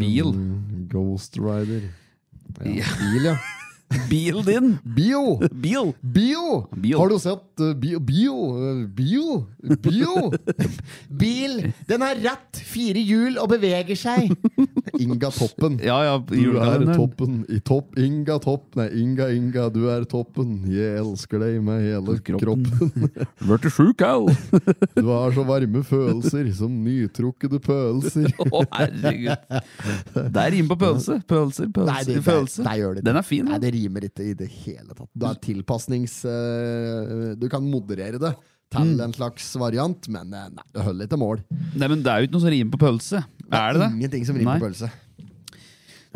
Bil. Ghost Rider. Ja. Ja, bil, ja. Bil din! Bio! Bil! Bio! Bio. Har du sett eh, bio, bio, eh, bio, bio? Bil, den har ratt, fire hjul og beveger seg. Inga Toppen. Ja, ja, Du er julekalenderen. toppen i topp. Inga Topp. Nei, Inga, Inga, du er toppen. Jeg elsker deg med hele Kroppen. kroppen. Vart du sjuk, au? Du har så varme følelser som nytrukkede pølser. Å, herregud. Det er rim på pølse. Pølser, pølser, Nei, det- pølse. Nei, gjør det Den er fin. Nei, da. det rimer ikke i det hele tatt. Du er tilpasnings... eh, Du kan moderere det Mm. til en slags variant, men eh, nei, det holder ikke mål. Nei, men det er jo ikke noe som rimer på pølse. Er det det? Ingenting som rimer Nei. på pølse.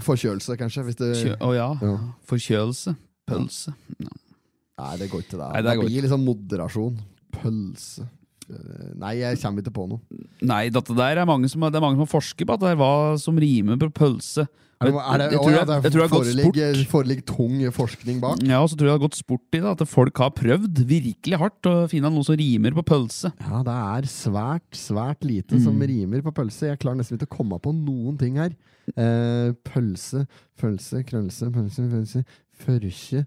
Forkjølelse, kanskje. Hvis det, Kjø å ja. Ja. Forkjølelse. Pølse. nei, det går ikke. Da. Nei, det det går blir liksom moderasjon. Pølse Eh, Nei, jeg kommer ikke på noe. Nei, dette der er mange som, det er mange som har forsket på at det er hva som rimer på pølse. Jeg, Er det, jeg, tror å, jeg, ja, det jeg, tror det har gått sport. foreligger, foreligger tung forskning bak. Ja, og så tror jeg det har gått sport i det. At folk har prøvd virkelig hardt å finne noe som rimer på pølse. Ja, det er svært, svært lite som rimer på pølse. Jeg klarer nesten ikke å komme på noen ting her. Eh, pølse, pølse, krølse, pølse, pølse, førkje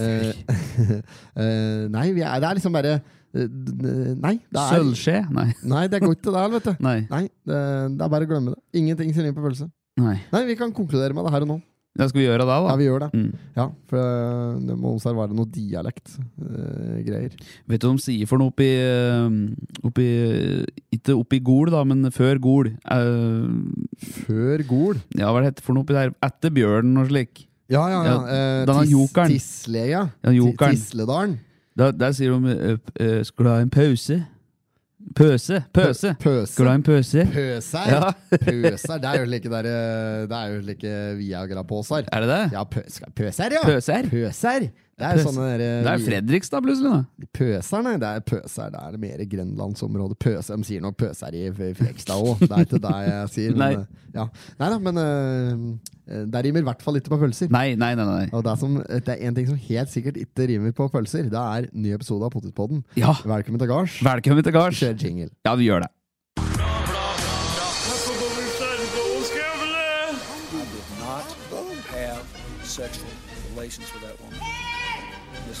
eh, eh, Nei, vi er, det er liksom bare eh, d- Nei, det er, Sølvskje? Nei. nei, det går ikke det der, vet du. Nei. Nei, det, det er bare å glemme det. Ingenting som rimer på pølse. Nei. Nei, vi kan konkludere med det her og nå. Ja, skal vi gjøre det, da? Ja, vi gjør det. Mm. Ja, For eh, det må observere noe eh, dialekt-greier. Vet du hva de sier for noe oppi, eh, oppi Ikke oppi Gol, da, men før Gol. Eh, Før gol ja, hva er det heter for noe oppi der? Etter bjørnen og slik. Ja, ja, ja. Eh, den er tis- jokeren. Tisle, ja. Ja, jokeren. Ti- Tisledalen. Der, der sier de eh, eh, 'Skal du ha en pause?' Pøse! Pøse! Skal du Pøse. ha en pøse? Pøser. Ja. pøser. Det er jo slike der, eh, Det er jo slike Viagra-påser. Er det det? Ja, pø skal- pøser, ja. Pøser? Pøser. Det er jo Pøs- sånne der, eh, Det er vi- Fredrikstad, plutselig. da Pøser, nei. Det er pøser. Det er det mer Grenlandsområdet. Pøser, De sier nok pøser i F- Frekstad òg. Det er ikke det jeg sier. Nei. Men, eh, ja. Nei da, men eh, det rimer i hvert fall ikke på pølser. Nei, nei, nei. nei. Og det er, som, eh, det er en ting som helt sikkert ikke rimer på pølser. Det er ny episode av Potetpodden. Ja, Velkommen til gards. velkommen til gards. Kjør jingle. Ja, vi gjør det. not have sexual relations with that woman. Miss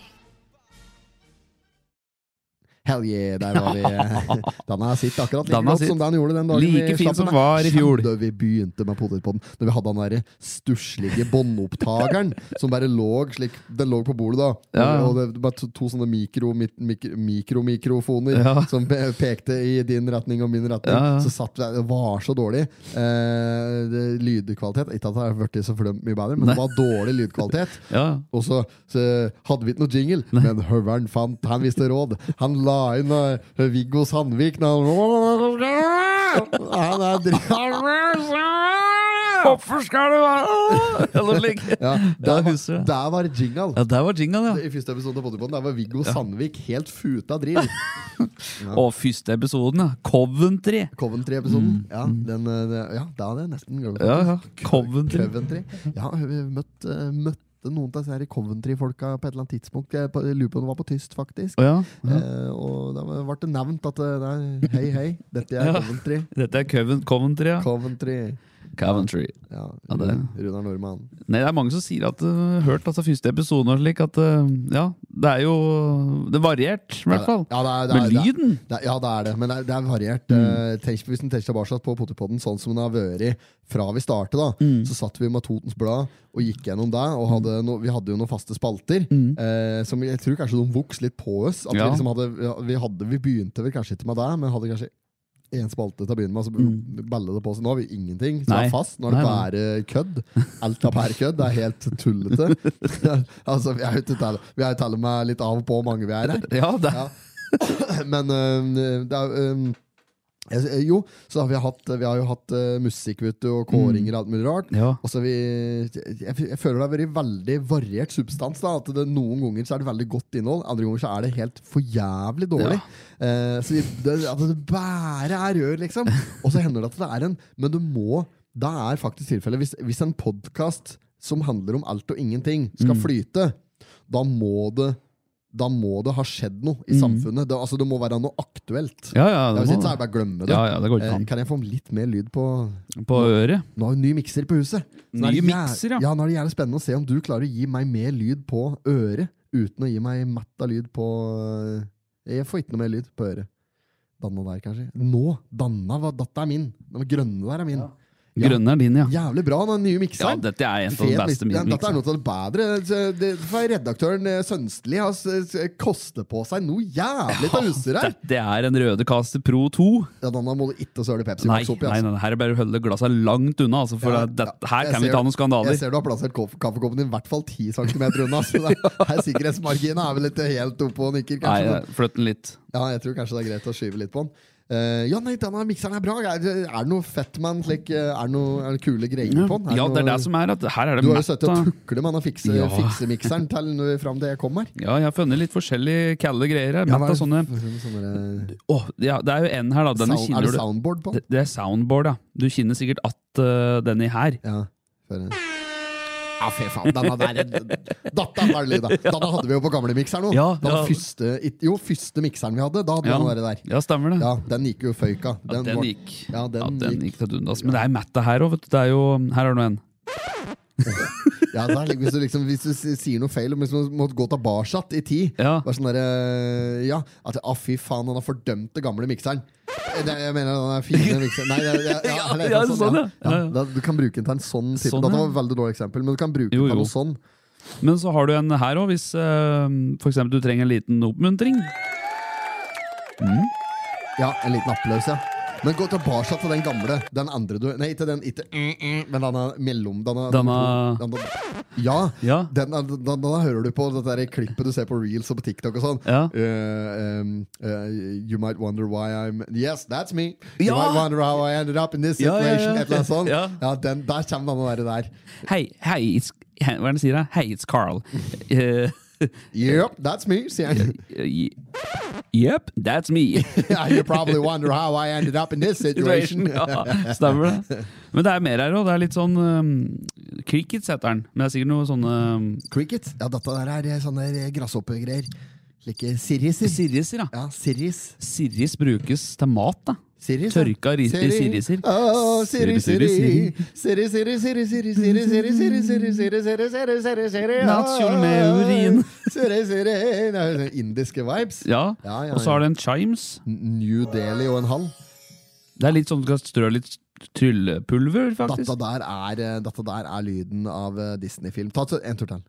Hell yeah, der var vi. Den har sitt akkurat like Den har godt sitt. som den gjorde den dagen Like vi fin slapp som den. var i fjor. Da vi begynte med potetpodden. Da vi hadde den der stusslige båndopptakeren som bare lå slik Den lå på bordet, da. Ja. Og det var to, to sånne mikro, mik, mik, mikromikrofoner Ja. som pe- pekte i din retning og min retning. Ja, ja. Så satt vi der. Det var så dårlig. Eh, det, lydkvalitet Ikke at det har blitt så fordømt mye bedre, men det var dårlig lydkvalitet. Ja. Og så, så hadde vi ikke noe jingle, men høveren fant Han visste råd. Han la inn eh, Viggo Sandvik når han Han er dri- Hvorfor skal du være Eller slik. ja, Ja, der, var, husker jeg. der var jingle. Ja, der var jingle, ja. I første episode av Potterpodden Der var Viggo Sandvik helt futa drill. Og første episoden, ja. Coventry. Coventry-episoden. Ja, den, eh, ja, da hadde jeg nesten glemt Mm. Ja, ja. Coventry. Coventry. Ja, vi møtt, eh, møtte noen av disse her Coventry-folka på et eller annet tidspunkt. Jeg på- jeg lurer på om det var på tyst, faktisk. Å ja. ja. Eh, og da ble det nevnt at eh, det er hei, hei, dette er Ja. Coventry. Dette er Coven Coventry, ja. Coventry. Coventry. Ja, Ja, det- Runar Nordmann. Nei, det er mange som sier at uh, hørt altså første episoden og slik at uh, ja, det er jo Det er variert, i hvert fall. Ja, det er, det er, Men det er- lyden Det er, ja, det er det, men det er, det er variert. Mm. Eh, tenk, hvis en tenker tilbake på Potterpodden sånn som den har vært fra vi startet, da, Mm. så satt vi med Totens Blad og gikk gjennom det. Og hadde no, vi hadde jo noen faste spalter eh, som jeg tror kanskje de vokste litt på oss. At Mm. Ja. vi, liksom hadde, ja, vi, hadde, vi begynte vel kanskje ikke med det, men hadde kanskje én spalte til å begynne med. Så balla det på seg. Nå har vi ingenting. Så det Mm. Nei. er fast. Nå er det Nei, bare kødd. Alt er bare kødd. Det er helt tullete. altså, vi er jo til- vi er jo til og med litt av og på hvor mange vi er her. Ja, det er Ja. Men øhm, det er, øhm, Jeg- eh, Jo, så har vi hatt Vi har jo hatt eh, musikk, vet du, og kåringer og alt mulig rart. Ja. Og så har Altså, vi jeg, jeg føler det har vært veldig variert substans. da At det Noen ganger så er det veldig godt innhold, andre ganger så er det helt for jævlig dårlig. Eh, så vi, det, at det bare er rør, liksom. Og så hender det at det er en Men du må Da er faktisk tilfellet Hvis, hvis en podkast som handler om alt og ingenting, skal Mm. flyte, da må det da må det ha skjedd noe i samfunnet. Det, altså, det må være noe aktuelt. Mm. Ja, ja, Ja, det hvis ikke, så må, er det bare å glemme det. ja, ja, det går ikke Eh, an. kan jeg få litt mer lyd på På øret. Nå har vi ny mikser på huset. Så nå er Ny det jæ- mikser, ja. ja. Nå er det gjerne spennende å se om du klarer å gi meg mer lyd på øret uten å gi meg matta lyd på eh, Jeg får ikke noe mer lyd på øret. Danna der, kanskje. Nå! Danna var datta er min. Den grønne der er min. Ja. Grønne er din, ja. Jævlig bra, den nye Ja, mikseren. dette er en av de Fet beste miks- ja, mine. dette er noe av det bedre. Så Det, for redaktøren eh, Sønstli har s- s- kostet på seg noe jævlig av utstyr her. Dette er en Røde Caster Pro 2. Ja, Danna må du ikke søle Pepsi Nei, Max opp i. nei, altså. nei, her er bare å holde glassa langt unna, altså, for Ja, det- dette- ja. her Jeg kan vi ser- ta noen skandaler. Jeg ser du har plassert koff- kaffekoppen din i hvert fall 10 cm unna. Så det er, her sikkerhetsmarginen er vel ikke helt oppe og nikker, Nei, kanskje. men- jeg- flytt den litt. ja, jeg tror kanskje det er greit å skyve litt på den. Eh, ja, nei, denne mikseren er bra. Er, er det noe fett med den? slik, eh, Er det noe er det kule greier på den? Ja, noe, det er det som er at her er det du har jo mett sittet og av- tuklet med den fikse, Ja. mikseren til nå- fram til jeg kom her. Ja, jeg har funnet litt forskjellige kalde greier her. Ja, Mett hva er av det- sånne sånne der, Åh, ja, det er jo en her, da. Denne sound, er kjenner det du. soundboard på den? Det, det er soundboard, ja. Du kjenner sikkert at øh, denne her. Ja. for- Ja, fy faen. Denne der Datta var det lyd, da. Denne hadde vi jo på gamle mikseren nå. Ja, Den ja. Første, jo, første mikseren vi hadde, da hadde Ja, vi den der. ja stemmer det. Ja, den gikk jo føyka. Den, var- gikk. Ja, den gikk. til dundas. Men det er metta her òg, vet du. Det er jo, her er det nå en. Ja, så er det- hvis, du liksom, hvis du s- sier noe feil, hvis du måtte gå tilbake i tid Ja. Bare sånn derre Ja, at ah, fy faen, han har fordømt det gamle mikseren. Eh, det- Jeg mener den er fine mikseren. Nei, det, ja, ja, Ja, det er ja, sånn, sånn, ja. ja. Ja, da, du kan bruke den til en sånn type. Sånn, Dette var ja. et veldig dårlig eksempel, men du kan bruke Jo, den til jo. noe sånn. Men så har du en her òg, hvis øh, for eksempel du trenger en liten oppmuntring. Ja, en liten applaus, ja. Men gå tilbake til den gamle. Den andre du Nei, ikke den ikke, mm, mm, Men denne mellom denne, Denne- denne, denne Ja. Ja. Den, er- den, den hører du på det der klippet du ser på reels og på TikTok og sånn. Ja. Eh, um, eh, you might wonder why I'm Yes, that's me! You Ja! might wonder how I ended up in this Ja, ja, ja. situation. Et eller annet sånt. Ja. den, der kommer denne der. der. Hei, hei, it's hei, Hva er det han sier? da? Hei, it's Carl. Eh, Yep, that's me, sier han. eh, Yep, that's me. Yeah, you probably wonder how I ended up in this situation. Ja, stemmer det. Men det er mer her òg. Det er litt sånn um, Crickets heter den. Men det er sikkert noe sånne um, Cricket? Ja, dette der er eh, sånne eh, grasshoppergreier. Slike sirriser. sirriser, da. Ja, sirris. Sirris brukes til mat, da. Sirris, ja. Tørka ris i sånn. sirriser. Å, sirri, sirri. Sirri, sirri, sirri, sirri, sirri, sirri, sirri, sirri, sirri, sirri, sirri, sirri, sirri. Natural med urin. Sirri, sirri. Det er jo sånne Indiske vibes. Ja. Ja, ja, Og så har det en chimes. New Delhi og en halv. Det er litt sånn du skal strø litt tryllepulver, faktisk. Dette der er, eh, dette der er lyden av eh, Disney-film. Ta et- en tur til.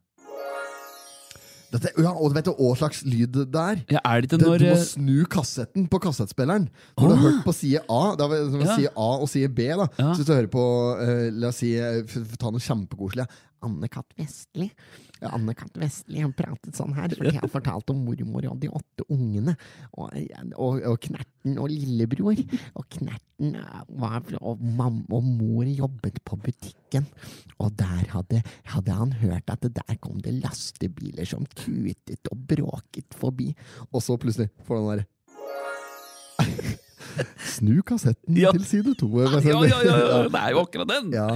Dette, ja, og vet du hva slags lyd det er? Ja, er det ikke Det, når du må eh, Ah. snu kassetten på kassettspilleren. Når du har hørt på side A Da var det Ja. side A og side B da Ja. Så hvis du hører på eh, La oss si eh, f- f- Ta noe kjempekoselig Anne-Kat. Vestli. Anne-Kat. Vestli har pratet sånn her, fordi jeg har fortalt om mormor og de åtte ungene. Og, og, og Knerten og lillebror. Og Knerten eh, var Og mamma og mor jobbet på butikken. Og der hadde, hadde han hørt at det der kom det lastebiler som tutet og bråket forbi. Og så plutselig får du den der Snu kassetten Ja. til side 2 Ja, ja, ja, ja, ja, det er jo akkurat den! Ja,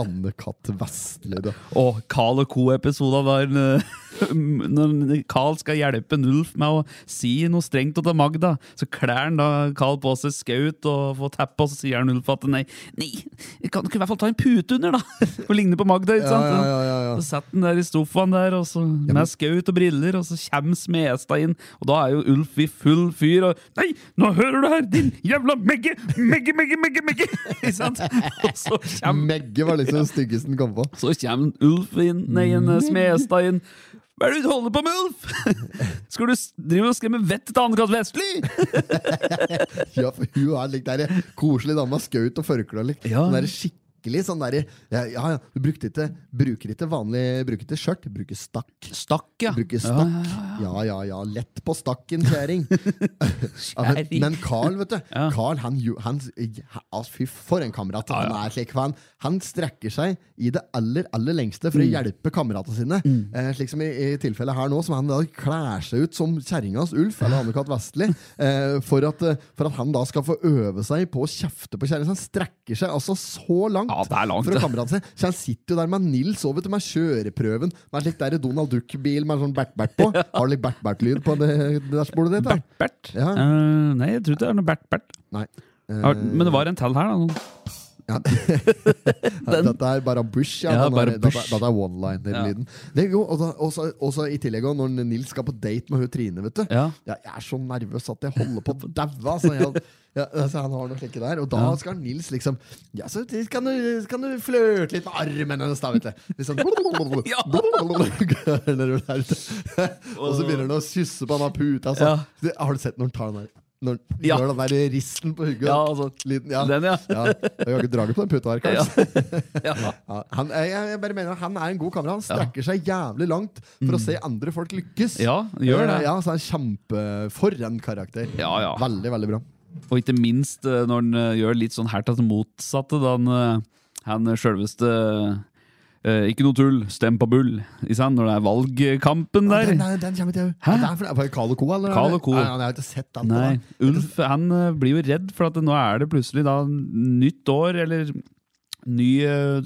Anne-Kat. Vestli da. Og Carl og Co-episoden var eh, Når Carl skal hjelpe Nulf med å si noe strengt til Magda, så klær han da Carl på seg skaut og får teppe, og så sier han Nulf at nei, nei, vi kan ikke i hvert fall ta en pute under, da! Og ligner på Magda, ikke Ja, sant? ja, ja, ja, ja. Så setter han der i sofaen der, og så med skaut og briller, og så kommer Smestad inn, og da er jo Ulf i full fyr, og Nei, nå hører du her, din jævla megge! Megge, megge, megge, megge! Ikke sant? Og så kommer Megge var liksom det styggeste den kom på. så kommer Ulf inn, nei, en eh, Smestad inn. Hva er det du holder på med, Ulf?! Skal du s- drive og skremme vettet til Anne-Kat. Vestli?! Ja, for hun er lik der koselig dame med skaut og forkle. Like. Ja. Den der skikkelig skikkelig sånn derre ja, ja, ja, du brukte ikke, bruker ikke vanlig Bruker ikke skjørt, bruker stakk. Stakk, ja. Bruker stakk. Ja, ja, ja. Lett på stakken, kjæring. Ja, men, Kjæring. men Carl, vet du. Ja. Carl, han, jo- han, altså, Fy, for en kamerat han er. slik for han, han strekker seg i det aller aller lengste Mm. for å hjelpe kameratene sine. Eh, slik som i, i tilfellet her nå, som han da klær seg ut som kjerringas Ulf, eller Anne-Kat. Vestli, eh, for, at, eh, for at han da skal få øve seg på å kjefte på kjerringa. Så Han strekker seg altså så langt. Ja, det er langt, For det. å kameratene sine. Så han sitter jo der med Nils og vet du, med kjøreprøven, med en slik der Donald Duck-bil med en sånn bert-bert på. Har du litt bert-bert-lyd på det dashbordet ditt? da? Bert-Bert? Ja. Eh. Eh, nei, jeg tror ikke det er noe Bert-Bert. Nei. Har- Men det var en til her, da. Ja. Dette er bare Bush. Ja. Ja, Den er- bare dette, Bush. dette er one-liner-lyden. Det er jo- Og så- og så- og så i tillegg, også når Nils skal på date med hun Trine, vet du. Ja. jeg er så nervøs at jeg holder på å daue. Altså, Jeg- ja, altså, han har noe slike der. Og da skal Nils liksom Ja, så kan du, kan du flørte litt med armen hennes, da, vet du. Liksom, Ja. Når hun er ute. Og så begynner han å kysse på han av puta. Altså. Har du sett når han tar den der? Når, Ja. når den der risten på hugget Ja, altså, Liten, ja. den, ja. Ja, jeg har ikke draget på den puta her, Ja. kanskje. Ja. Ja, han, jeg, jeg bare mener at han er en god kamerat. Han strekker seg jævlig langt for å se andre folk lykkes. Mm. Ja, gjør det. Eh, Ja, så er han kjempe For en karakter. Ja, ja. Veldig, veldig bra. Og ikke minst eh, når han eh, gjør litt sånn herta til motsatte, da han, eh, han sjølveste eh, Ikke noe tull, stem på Bull. Ikke sant? Når det er valgkampen der. Den, den, den kommer ikke jeg Hæ? Hva er det for- er det Carl og Co., eller? Carl og Co. Nei, jeg har ikke sett den. Nei, da. Ulf han eh, blir jo redd, for at nå er det plutselig da nytt år, eller ny eh,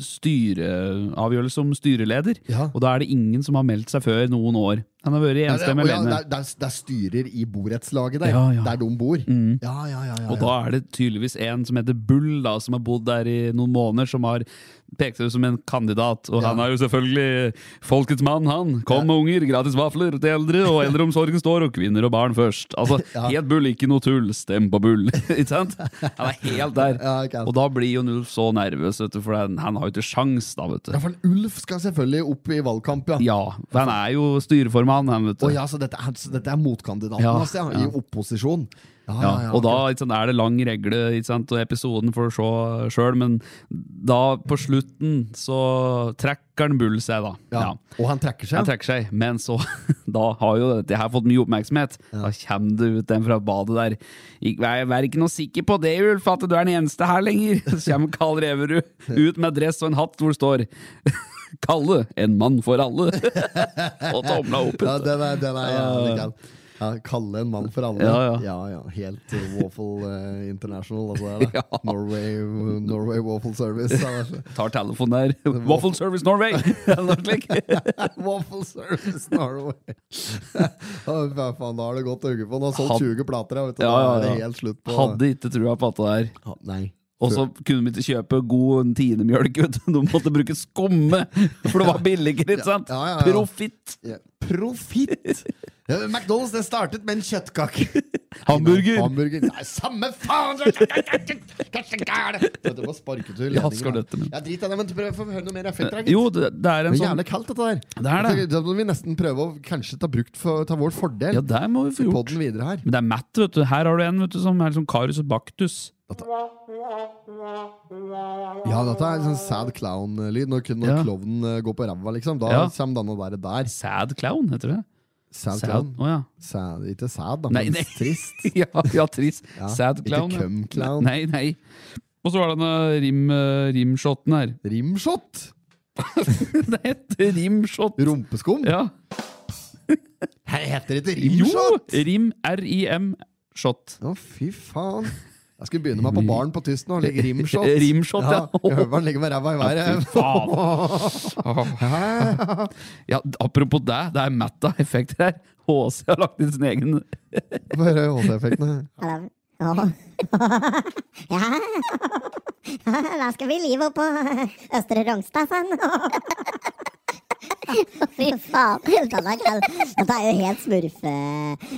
styreavgjørelse om styreleder. Ja. Og da er det ingen som har meldt seg før noen år. Han har vært Ja, det, og enstemmig ja, det, alene. er, det, er, det er styrer i borettslaget der, Ja, ja. der de bor. Ja, ja, ja, ja, Og ja. da er det tydeligvis en som heter Bull, da, som har bodd der i noen måneder, som har pekt seg ut som en kandidat. Og han er jo selvfølgelig folkets mann, han. Kom med unger, gratis vafler til eldre, og eldreomsorgen står, og kvinner og barn først. Altså, helt Bull, ikke noe tull. Stem på Bull. ikke sant? Han er helt der. Ja, ikke sant. og da blir jo Nulf så nervøs, vet du, for han, han har jo ikke sjans, da, vet Ja, du. for Ulf skal selvfølgelig opp i valgkamp, ja. Ja, for han er jo styreformann, han, vet du. Å ja, så dette er, så dette er motkandidaten Ja, hans, ja. I opposisjon. Ja, Ja, ja, ja, og da ikke sant, er det lang regle, ikke sant, og episoden får du se sjøl, men da på slutten så trekker han Bull seg, da. ja. Og han trekker seg. Han trekker seg, men så Da har jo dette her fått mye oppmerksomhet. Da kommer det ut en fra badet der. Ik- Vær, vær ikke noe sikker på det, Ulf, at du er den eneste her lenger. Så kommer Karl Reverud ut med dress og en hatt hvor det står Kalle, en mann for alle. Og tomla opp. Ja, den er, den er jævlig kald. Ja, kalle en mann for alle. Ja, ja. ja. Helt eh, Waffle eh, International. Altså, det er det. Ja. Norway, Norway Waffle Service. altså. ja, det er- Tar telefonen der. Waffle Service Norway! Eller noe slikt. waffle Service Norway! Ja, Hva faen, da har det godt øye på. Han har Had- solgt 20 plater, ja, vet du. Ja, Da ja, er det ja. helt slutt på Hadde ikke trua på at det der. Ja, Nei. Og så kunne de ikke kjøpe god tiendemjølk. vet du. De måtte bruke skumme, for det var billigere. ikke sant? Ja, ja, ja. Profitt! Ja, Profitt! Ja, McDonald's det startet med en kjøttkake. Hamburger! Hamburger. Nei, samme faen! Kanskje gæren! Dette var sparketur. Ja, ledningen, skal da. dette, men- Eh, Ja, drit i det, men prøv å få høre noe mer. av Fetter'n, Jo, det, det er en Det er sånn jævlig kaldt, dette der. Det er det. Jeg tenker, Da må vi nesten prøve å kanskje ta, brukt for, ta vår fordel Ja, det må vi i få gjort. podden videre her. Men det er matt, vet du. Her har du en vet du, som er som Karius og Baktus. Ja, dette er sånn sad clown-lyd. Når, kun- når Ja. klovnen eh, går på ræva, liksom. Da Ja. kommer denne der der. Sad clown, heter det. Sad Sad, clown. Å ja. Sad, ikke sad, da, Nei, men nei. trist. ja. Ja, trist. Ja, Sad ikke clown. ja. cum clown. Nei, nei. Og så var det denne rim, eh, rimshoten her. Rimshot! Det heter rimshot. Rumpeskum? Ja. Her heter det ikke Jo! rimshot! Rim, R-I-M, shot. Å, fy faen. Jeg skulle begynne meg på baren på tyst nå. Legge rimshot. Rimshot, ja. Jeg hører han ligger med ræva i Fy været. faen. Hæ? Ja, apropos det, det er Matta-effekter her. HC har lagt inn sin egen Få høre HD-effektene. Da skal vi live opp på Østre Rognstad, sa han. Fy faen. Dette er kald. Dette er jo helt smurfe.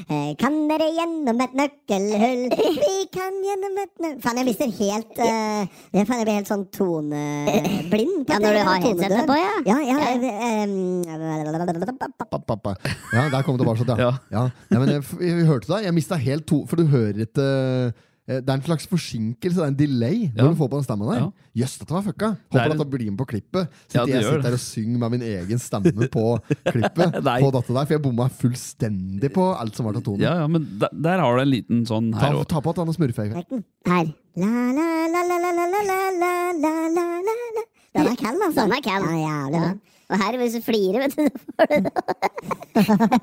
Eh, Kan dere gjennom et nøkkelhull? Vi kan gjennom et nøkkelhull Faen, jeg mister helt eh, jeg, faen, jeg blir helt sånn toneblind. på Ja, når du det, har tonedøv. headsetet på, ja. Ja, ja, eh, em, Papp, papp, papp. Ja, der kom det bare sånn, ja. Ja. ja. Nei, men jeg, f- jeg hørte deg. Jeg mista helt to For du hører ikke eh, Det er en slags forsinkelse, det er en delay, Ja. når du får på den stemma der. Ja. Jøss, dette var fucka! Det er Håper en- dette blir med på klippet. Sitter Ja, det jeg gjør sitter det. her og synger med min egen stemme på klippet. Nei. på dette der, For jeg bomma fullstendig på alt som var av tonen. Ja, ja, men der, der har du en liten sånn Ta, her òg. ta på at han har smurfeøyne. Her. La, la, la, la, la, la, la, la, la, la, la, la, la. Den er kald, altså. Den er kald. Ja, jævlig bra. Og her, hvis du flirer, vet du, så får du det.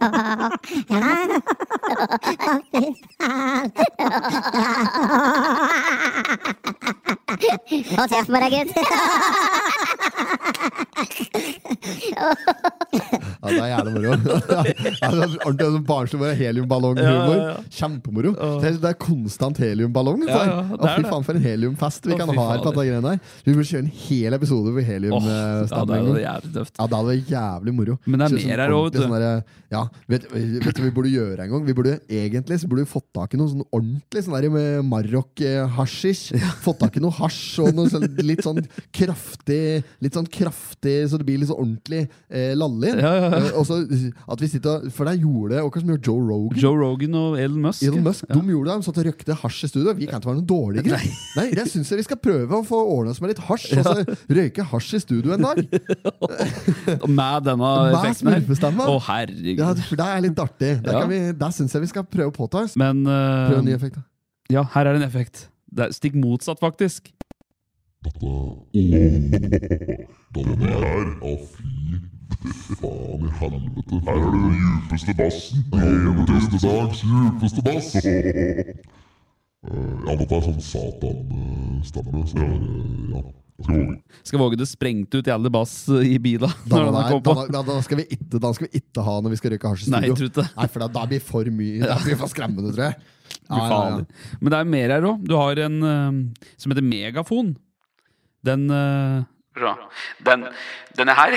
Og treff meg, da, gutt. Ja, det er jævlig moro. ja, det er ordentlig sånn barnslig bare heliumballonghumor. Ja, ja, ja. Kjempemoro. Det er, det er konstant heliumballong. Ja, ja, Å, det er fy det. faen, for en heliumfest vi Å, kan fy ha her. på fader. dette greiene der Vi burde kjøre en hel episode eh, hvor Åh, ja, det er heliumstemning. jo jævlig tøft. Ja, det hadde vært jævlig moro. Men det er Kjøre sånn mer her også, ordentlig vet du. sånn derre- ja, vet, vet du hva vi burde gjøre en gang? Vi burde Egentlig så burde vi fått tak i noe sånn ordentlig sånn der med marokk-hasjisj. Fått tak i noe hasj og noe sånn, litt sånn kraftig, Litt sånn kraftig så det blir litt sånn ordentlig eh, lallig. Ja, ja, ja. Eh, og så at vi sitter og For det gjorde det Hva som gjorde Joe Rogan? Joe Rogan og Elon Musk. Elon Musk de gjorde det, de satt og røkte hasj i studio. Vi kan ikke være noen dårligere. Nei, Det syns jeg vi skal prøve å få ordna oss med litt hasj. Og så røyke hasj i studio en dag. Med denne Hva er effekten her. smurfestemma? Å, Ja, herregud. for det er litt artig. Det, Ja. kan vi- det syns jeg vi skal prøve å påta oss. Men eh, Prøve en ny effekt, da. ja, her er en effekt. Det er stikk motsatt, faktisk. Den her, å fy faen i helvete. Her er det den djupeste bassen. Eneste dags djupeste bass. Eh, Ja, dette er sånn satan-stemmer. Så det er, eh, ja, jeg skal våge. Skal våge det sprengte ut i alle bass eh, i bila. Da, Når den da, kom på. da, da, da, skal vi ikke, da skal vi ikke ha når vi skal røyke hasj i Nei, studio. jeg tror ikke det. Nei, for da, da blir for mye. Da blir for skremmende, tror jeg. Ja, ja, ja. Fader. Men det er mer her òg. Du har en eh, som heter megafon. Den eh, Den, denne her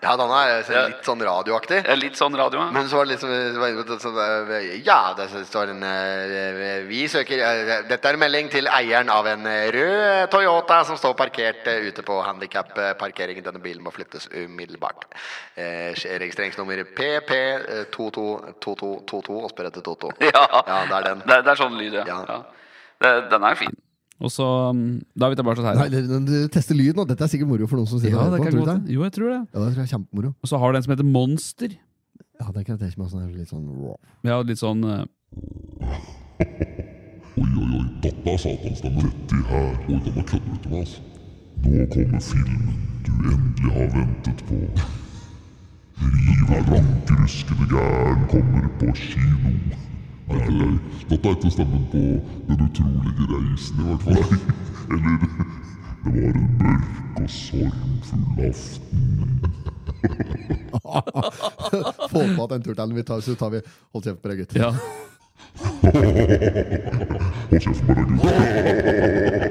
Ja, den er litt sånn radioaktig. er litt sånn radio. ja. Men så var det liksom så var det sånn, eh, Ja, det så står en eh, Vi søker eh, Dette er en melding til eieren av en eh, rød Toyota som står parkert eh, ute på handikapparkering. Denne bilen må flyttes umiddelbart. Eh, Registreringsnummer eh, PP222222 og spør etter Toto. Ja, det er den. Det, er sånn lyd, Ja. Ja. den er fin. Og så um, Da er vi tilbake her. Teste lyden, og dette er sikkert moro for noen som Ja, det kan godt Jo, jeg tror det. Ja, det tror jeg er kjempemoro. Og så har du en som heter Monster. Ja, det kan jeg tenke meg sånn, litt sånn raw. Ja, litt sånn eh, Oi, oi, oi, dette er satan-stemmer. Dette her, oi, denne kødder du til meg, altså. Nå kommer filmen du endelig har ventet på. Riv her rankruskede gæren kommer på kino. Nei, det er, dette er ikke stemmen på Den utrolige reisen, i hvert fall. Eller Det var en mørk og sorgfull aften. Få på at en tur til, vi tar, så tar vi Hold kjeft på deg, gutt. Ja. Hold kjeft med deg, gutt.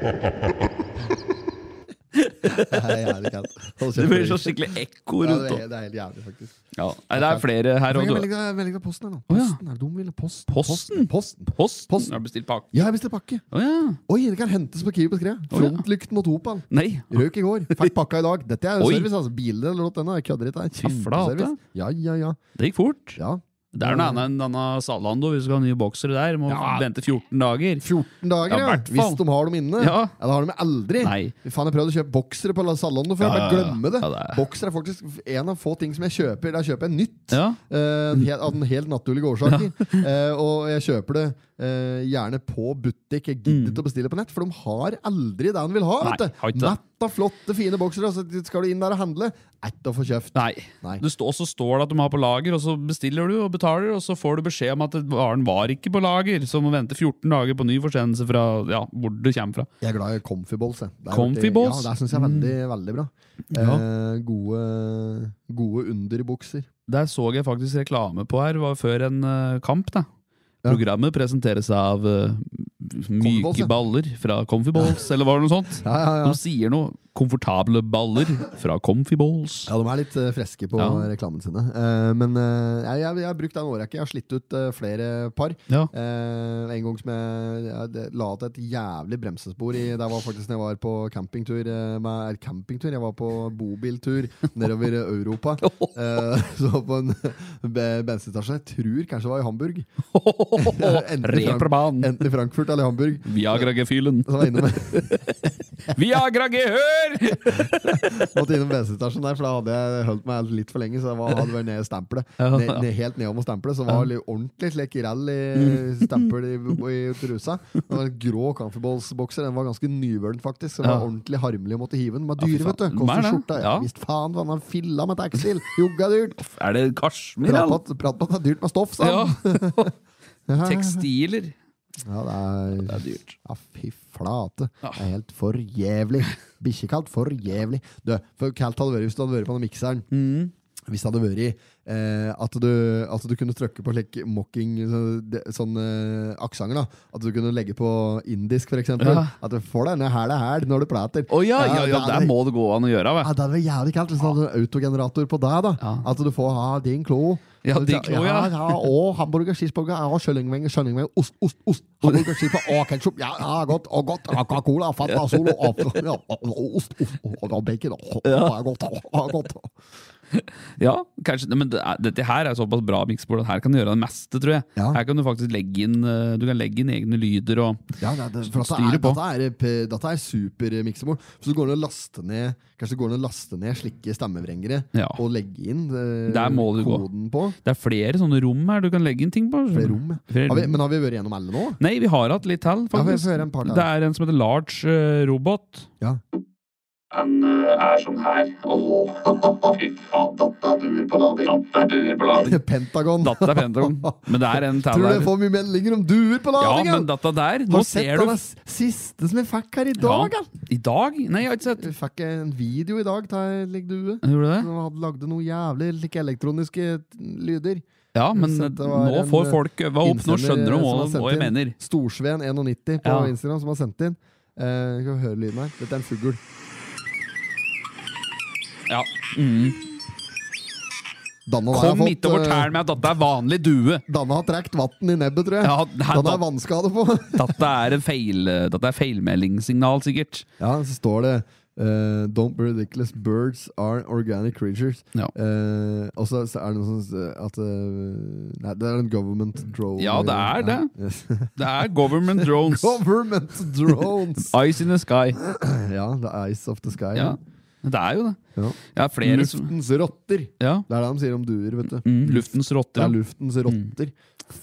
Det er jævlig kaldt. Hold kjeft Det på blir deg, så gutt. skikkelig ekko Ja, rundt det, er, om. det er helt jævlig, faktisk. Ja. Nei, det er flere Jeg her òg, fikk en du. melding fra- melding fra posten. her nå. Å, ja. Posten, er det dum, eller posten? Posten? Posten. posten. Posten. Posten. Har bestilt pakke. Ja, jeg bestilte pakke. Å ja. Oi, det kan hentes på Kiwi på skredet. Å, ja. Frontlykt mot Opal. Nei. Røk i går, fikk pakka i dag. Dette er jo Oi. service, altså. Biler.no. Jeg kødder ikke. Det er flate. Kjempeservice. Ja, ja, ja. Det gikk fort. ja. Det er noe annet enn denne Salando. Hvis du skal ha nye boksere der, må Ja. vente 14 dager. 14 dager, Ja, ja. hvert fall. Hvis de har dem inne. Ja. da har de aldri. Nei. Faen, jeg prøvde å kjøpe boksere på salongen før. Ja, Bare ja, ja. glemme det. Ja, det er- Bokser er faktisk en av få ting som jeg kjøper. Da kjøper jeg nytt. Ja. Eh, Mm. en hel- av den helt naturlige årsaker. Eh, og jeg kjøper det eh, gjerne på butikk. Jeg gidder ikke å bestille på nett, for de har aldri det de vil ha. Mm. Nei, vet har ikke du. det. Mett av flotte, fine boksere, og så skal du inn der og handle. Ett å få kjøpt. Nei. Nei. Det står, så står det at de har på lager, og så bestiller du og betaler, og så får du beskjed om at varen var ikke på lager, så må vente 14 dager på ny forsendelse fra ja, hvor det kommer fra. Jeg er glad i comfy balls. jeg. Det er Comfy veldig- balls? Ja, det syns jeg er veldig, veldig bra. Mm. Ja. Eh, gode, gode underbukser. Der så jeg faktisk reklame på her, var før en eh, kamp, da. Ja. Programmet presenteres av eh, Comfyballs, myke ja. baller fra Comfy Balls, eller var det noe sånt? Ja, ja, ja. De sier noe. Komfortable baller fra Comfy Balls. Ja, De er litt eh, freske på Ja. reklamene sine. Eh, men eh, jeg, jeg, jeg har brukt det en årrekke. Jeg har slitt ut eh, flere par. Ja. Eh, en gang som jeg, jeg det- la til et jævlig bremsespor i Det var faktisk når jeg var på campingtur. eh, med, eller campingtur jeg var på bobiltur nedover Europa. Eh, så på en be- bensinstasjon. Jeg tror kanskje det var i Hamburg. Enten i Frank- Reperbanen. Enten i Frankfurt Sosial i Hamburg. Viagra-gefühlen. Så var jeg innom, Viagra-gehør! måtte innom bensinstasjonen der, for da hadde jeg holdt meg litt for lenge. Så jeg var, hadde vært nede i stempelet. Ja. Ned, ned, helt nedom og stempelet, så var det litt ordentlig slik rell Mm. i stempel i, i trusa. Det var en grå comfyballs-bokser. Den var ganske nyvølen, faktisk. Så det var ordentlig harmelig å måtte hive den. Den var fy dyr, faen. vet du. Den er Koster det. skjorta. Ja. Ja. Visst faen, hva han filla med tekstil. Jogga dyrt. Er det kasjmir? Prat på eller? at prat på at det er dyrt med stoff, sa Ja. han. Tekstiler. Ja, det er, Det er dyrt. Ja, fy flate. Det er helt for jævlig. Bikkjekaldt, for jævlig. Du, for kaldt hadde det vært hvis du hadde vært på den mikseren. Mm. Hvis det hadde vært eh, at, du, at du kunne trykke på slik mocking så- de- sånn eh, aksenter. da. At du kunne legge på indisk, for eksempel. Ja. At du får denne hæl er hæl når du prater. Å ja, ja, det ja, der hadde- må det gå an å gjøre, ja, vel. det hadde vært jævlig kaldt hvis du hadde en autogenerator på deg. da Ja. At du får ha din klo. Ja, Så du din tar- klo, ja. ja, ja Og hamburger, cheeseburger, ja, kyllingvinger, kyllingvinger, ost, ost, ost. Hamburger, cheeseburger, og ketsjup. Ja, ja, godt, og godt. Og Coca-Cola, Fanta, Solo, og, ja, og ost, ost, og, og bacon. Og, og, ja, godt, og, og godt. Ja, kanskje, men det er- dette her er såpass bra miksbord at her kan du gjøre det meste, tror jeg. Ja. Her kan du faktisk legge inn, eh, du kan legge inn egne lyder og Ja, det, det, for dette Styre er, på. dette er, p- dette er supermiksebord. Så går det an å laste ned Kanskje det går an å laste ned slike stemmevrengere Ja. og legge inn eh, Der må du gå. koden på. Det er flere sånne rom her du kan legge inn ting på. Flere rom. ja. Flere Har vi, rom. men har vi vært gjennom alle nå? Nei, vi har hatt litt til, Ja, vi faktisk. får høre en par det der. er en som heter Large eh, Robot. Ja. Han er sånn her. Åh, fy faen, datta duer på lader. Datta duer på lader. Pentagon. Datta er Pentagon. Men det er en til Tror du jeg der. får mye meldinger om duer på Ja, ladingen? men datta der, Har nå du sett ser den du s- siste som jeg fikk her i Ja, dag? Ja. I dag? Nei, jeg har ikke sett. Jeg fikk en video i dag av ei lik due. Gjorde du det? Som hadde lagd noen jævlig like elektroniske t- lyder. Ja, men Så det var nå en, eh, får folk øve opp. Nå Innsender skjønner de som hva, har sendt hva jeg inn. mener. Storsveen91 på Ja. Instagram som har sendt inn. Eh, skal vi høre lyden her? Dette er en fugl. Ja. Mm. Danne har Kom fått, ikke eh, og fortell meg at dette er vanlig due. Danne har trukket vann i nebbet, tror jeg. Ja, her, Danne da, er vannskade på. dette er en feil, eh, dette er feilmeldingssignal, sikkert. Ja, så står det eh, Don't be ridiculous, birds are organic creatures. Ja. Eh, og så så er det noe sånn at eh, Nei, det er en government drone. Ja, det er det. Yes. Det er government drones. government drones! Ice in the sky. ja, The Eyes of the Sky. Ja, det er jo det. Ja. Ja, flere som Luftens rotter! ja. Det er det de sier om duer. vet du mm, Luftens Det er rotter. luftens rotter.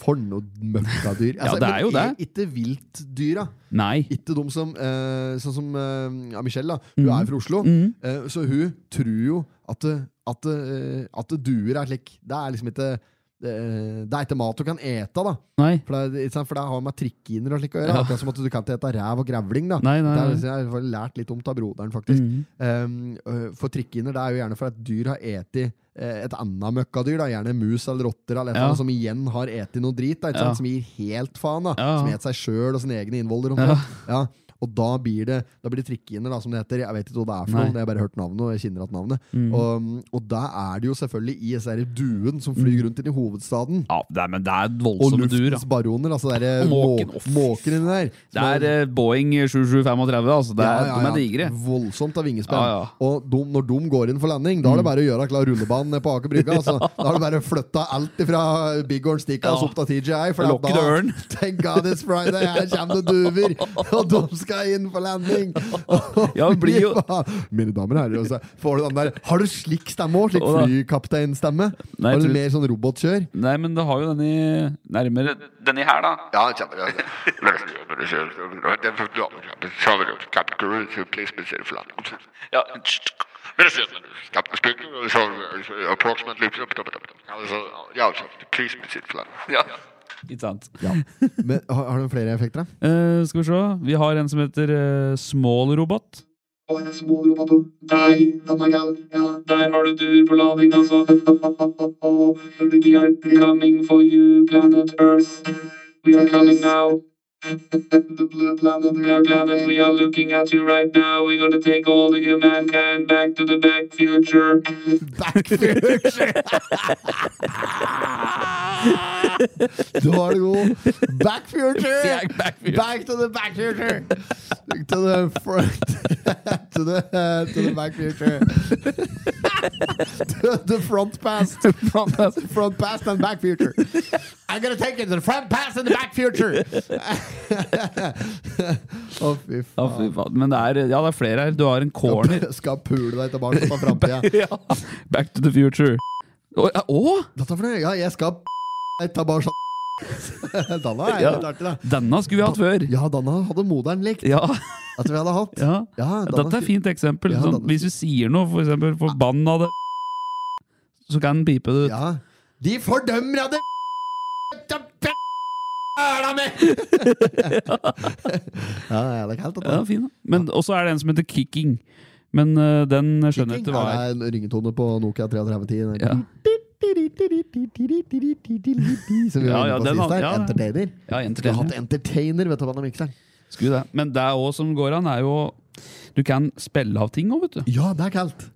For noe møkkadyr. Altså, Ja, det er jo men det. Ikke viltdyra. Nei. Ikke de som eh, Sånn som eh, ja, Michelle, da. Hun er fra Oslo. Mhm. Eh, så hun tror jo at, at, eh, at duer er slik Det er liksom ikke eh, Det er ikke mat du kan ete, da. Nei. For det, er- ikke sant? for det har med trikkiner og slik å gjøre. Ja. Akkurat som at du kan ikke ete ræv og grevling. da Nei, Det nei, er- liksom, nei. Jeg har i hvert fall lært litt om av broderen, faktisk. Mhm. Um, øh, for trikkiner det er jo gjerne for at dyr har eti eh, et annet møkkadyr. Da. Gjerne mus eller rotter eller et eller Ja. annet som igjen har eti noe drit. Da, ikke Ja. sant? Som gir helt faen. Da. Ja. Som et seg sjøl og sine egne innvoller. Ja. Ja. Ja. Og da blir det Da blir det trikkiner, da, som det heter. Jeg vet ikke hva det er for Nei. Mm. noe, jeg har bare hørt navnet. Og jeg kjenner at navnet og, og da er det jo selvfølgelig i disse her duen som Mm. flyr rundt inn i hovedstaden. Ja, det er, men det er Og voldsomme duer. da. luftens baroner, altså det er Og må- måken, å, fy måkene der. Det er eh, Boeing 7735, altså. Det er, De er digre. Voldsomt av vingespenn. Ja, Mm. ja. Og de, når de går inn for landing, da er det bare å gjøre klar rullebanen ned på Aker Brygge. Altså. Da er det bare å flytte alt fra Big Horn Stickas Ja. opp til TGI. For Lokk at døren. da, Thank God it's Friday, her kommer det duver! Og de skal inn for landing! Ja, det blir jo- Mine damer og herrer, og så får du den der Har du slik stemme òg? Slik Å, da. flykapteinstemme? Nei, jeg Har du tror- mer sånn robotkjør? Nei, men det har jo denne i- nærmere Denne her, da. Ja, det kommer, ja. Ja. Ikke sant. Men har, har du flere effekter, da? Eh, skal vi se. Vi har en som heter eh, Small Robot. Da er du god. Back future! Back, back, back. Back to the back future! to the front To the, to the back future. to the front past. front past. front past and back future. I'm gonna take it to the front past and the back future! Å, fy Ja, faen. fy faen. Men det er, ja, det er flere her. Du har en corner. Skal pule deg tilbake på framtida. Ja. Back to the future. Å? ja, å? Dette for noe? Ja, jeg skal deg tilbake. Danna er Ja. litt artig, da. Denne skulle vi hatt før. Ja, Danna hadde moderen likt Ja, at vi hadde hatt. ja. Ja, Danna Dette er skulle- et fint eksempel. Ja, Sånn, Danne- hvis du sier noe, for eksempel forbanna det så kan den pipe det ut. Ja. De fordømmer av det Æla med! ja, det er kaldt. Ja, fin. da. Men også er det en som heter kicking. Men øh, den skjønner jeg ikke hva er. Det er en ringetone på Nokia 3310. Ja. Som vi Ja, var ja, inne på den sist hadde- her. ja. Entertainer. Vi har hatt Ja, entertainer. entertainer, vet du hva den mikseren? Skulle det. Men det òg som går an, er jo Du kan spille av ting òg, vet du. Ja, det er kaldt.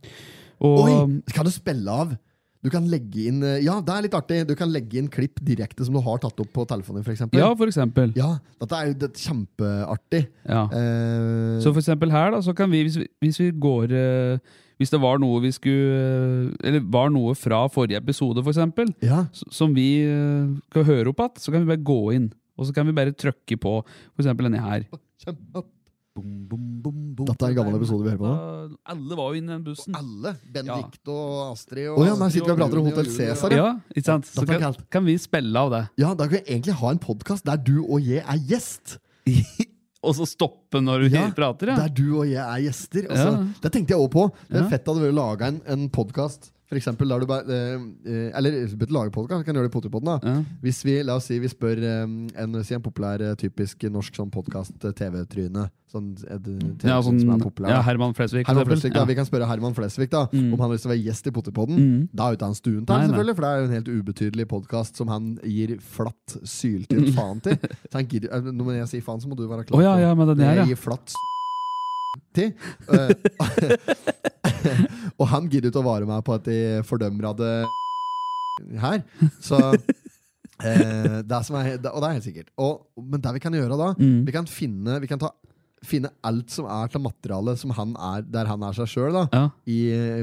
Og um, Oi, kan du spille av? Du kan legge inn eh, Ja, det er litt artig. Du kan legge inn klipp direkte som du har tatt opp på telefonen, for eksempel. Ja, for eksempel. Ja, dette er jo det er kjempeartig. Ja. Eh, Så for eksempel her, da, så kan vi, hvis vi, hvis vi går eh, Hvis det var noe vi skulle eh, Eller var noe fra forrige episode, for eksempel, ja. s- som vi eh, skal høre opp igjen, så kan vi bare gå inn. Og så kan vi bare trykke på for eksempel denne her. Dette er en gammel episode vi hører på nå. Da- Alle var jo inne i den bussen. Alle. Benedikt Benedikt og Astrid og ja, sitter vi og prater om Hotell Cæsar. Ja. Ja, ikke sant? Så Dette er kan, kaldt. kan vi spille av det. ja, da kan vi egentlig ha en podkast der du og jeg er gjest. Og så stoppe når vi Ja, prater, ja. Der du og jeg er gjester. Altså, Ja. Det tenkte jeg òg på. Det Ja. er fett hadde vært å lage en, en podkast. For eksempel, der du bare, eh, eh, eller du bør lage podcast, kan gjøre det i Potipodden. da. Ja. Hvis vi la oss si, vi spør eh, en, si en populær, eh, typisk norsk sånn podkast-TV-tryne Sånn, et, TV Ja, sånn, som er populær. ja, da. Herman Flesvig. for Herman eksempel. Flesvig, da. Vi kan spørre Herman Flesvig da, om han har lyst til å være gjest i Potipodden. Da er jo ikke han stuen til, Mm. Nei, nei. selvfølgelig, for det er jo en helt ubetydelig podkast som han gir flatt syltynt faen til. Så han gidder, eh, når jeg sier faen, så må du være Å klar ja, på ja, men den det her, ja. gir flatt s- til. Eh, og han gidder ikke å vare meg på at de fordømmer av det her. Så eh, det som er, Og det er helt sikkert. Og, men det vi kan gjøre da, Mm. vi kan finne, vi kan ta, finne alt som er til materiale som han er, der han er seg sjøl. Ja.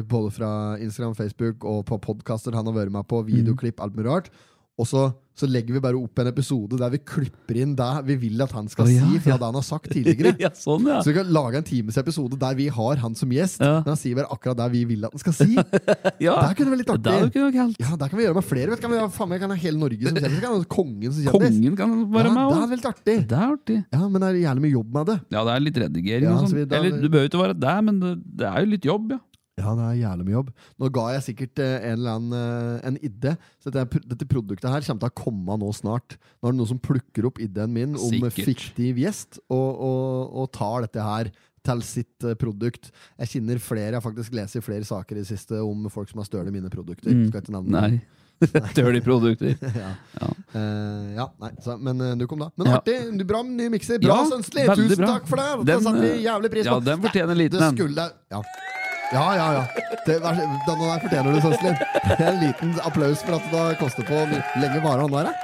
Både fra Instagram, Facebook og på podkaster han har vært med på, Mm. videoklipp, alt mulig rart. Og så, så legger vi bare opp en episode der vi klipper inn det vi vil at han skal Å, ja, si fra ja. det han har sagt tidligere. ja, sånn, ja. Så vi kan lage en times episode der vi har han som gjest, Ja. men han sier bare akkurat det vi vil at han skal si. ja. Det kunne vært litt Det er jo artig. ikke noe kaldt. Ja, Der kan vi gjøre med flere. Vet du, kan vi ha, faen, meg, kan ha hele Norge som kjendis. Kan ha kongen som kjendis. Kongen kan ja, være med det òg. er veldig artig. Det Sånn. er artig. Ja, men det er gjerne mye jobb med det. Ja, det er litt redigering Ja, og så sånn. vi- da- Eller du behøver jo ikke være der, men det, det er jo litt jobb, ja. Ja, det er jævlig mye jobb. Nå ga jeg sikkert eh, en eller annen eh, en idé. Så dette, pro- dette produktet her kommer til å komme nå snart. Nå er det noen som plukker opp ideen min om Sikkert. fiktiv gjest, og, og, og tar dette her til sitt eh, produkt. Jeg kjenner flere, jeg har faktisk lest i flere saker i det siste om folk som har stjålet mine produkter. Mm. Skal ikke nevne Nei. Dirty produkter. ja. Ja. Eh, ja, nei, så, men eh, du kom da. Men Ja. artig! du- Bra ny mikser. Bra, Ja, Sønsli! veldig Tusen bra. takk for det! Den, det satte vi eh, jævlig pris på. ja, den fortjener en liten Det en. skulle Ja, ja, ja. ja. Det, vær så- denne der fortjener du, Sønsli. En liten applaus for at det har kostet på Hvor lenge varer han der? da?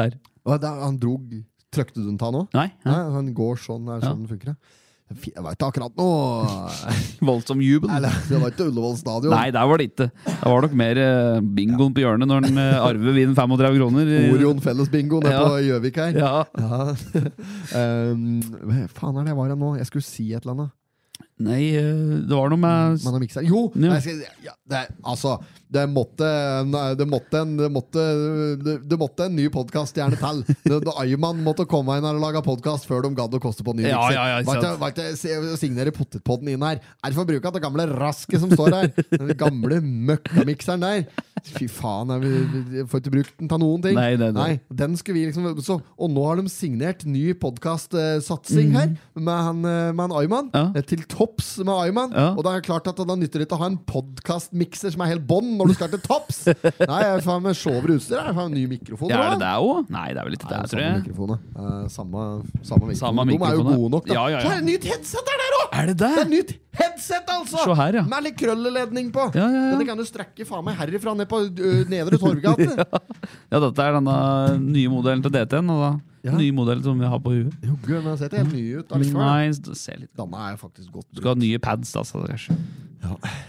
Der. Og der han drog Trøkte du den ta nå? Nei. Nei, han går sånn, er sånn funker det. Jeg veit akkurat nå Voldsom jubel. Eller, Det var ikke Ullevål stadion. Nei, der var det ikke. Det var nok mer eh, bingoen på hjørnet når han eh, arver vinen 35 kroner. Orion fellesbingo nede Ja. på Gjøvik her. Ja. Ja. um, hva faen er det jeg var her nå? Jeg skulle si et eller annet. Nei, eh, det var noe med Man har mikset. Jo! Ja. Nei, jeg skal, ja, det, er- altså, det måtte nei, det måtte, en, det måtte, det, det måtte en ny podkaststjerne til. Det- det- Ayman måtte komme inn her og lage podkast før de gadd å koste på en ny Ja, mikser. ja, ja, ikke Var ikke- sant. var ikke- se- Signere potetpodden inn her. Er det for bruk av det gamle rasket som står her? Den gamle møkkamikseren der. Fy faen, er vi, vi får ikke brukt den til noen ting. Nei, nei, nei. Nei, den skulle vi liksom så, Og nå har de signert ny podkastsatsing her, med han, eh, med han Ayman. Mhm. Ja. Eh, Til topps med Ayman. Ja. Og da er det klart at da nytter det ikke å ha en podkastmikser som er helt bånn når du skal til topps! Nei, jeg er faen meg sjovere utstyr. Jeg er faen meg ny mikrofon. ja, da. Er det det òg? Nei, det er vel ikke det, Nei, tror samme jeg. mikrofon, da. Eh, Samme, samme mikrofon. Samme De er jo mikrofon, da. gode nok, da. Ja, ja, ja. Så er det nytt headset der, der òg! Er det Det det? er nytt headset, altså! Se her, ja. Med litt krølleledning på. Ja, ja, ja. Og det kan du strekke faen meg herifra ned på ø, Nedre Torvgate. Ja, dette er denne nye modellen til DT-en. Og da Ja. nye modell som vi har på huet. Jo, gud, men den ser ikke helt ny ut. allikevel. Nei, se litt Danne er jo faktisk godt Du skal ha nye pads, altså, kanskje.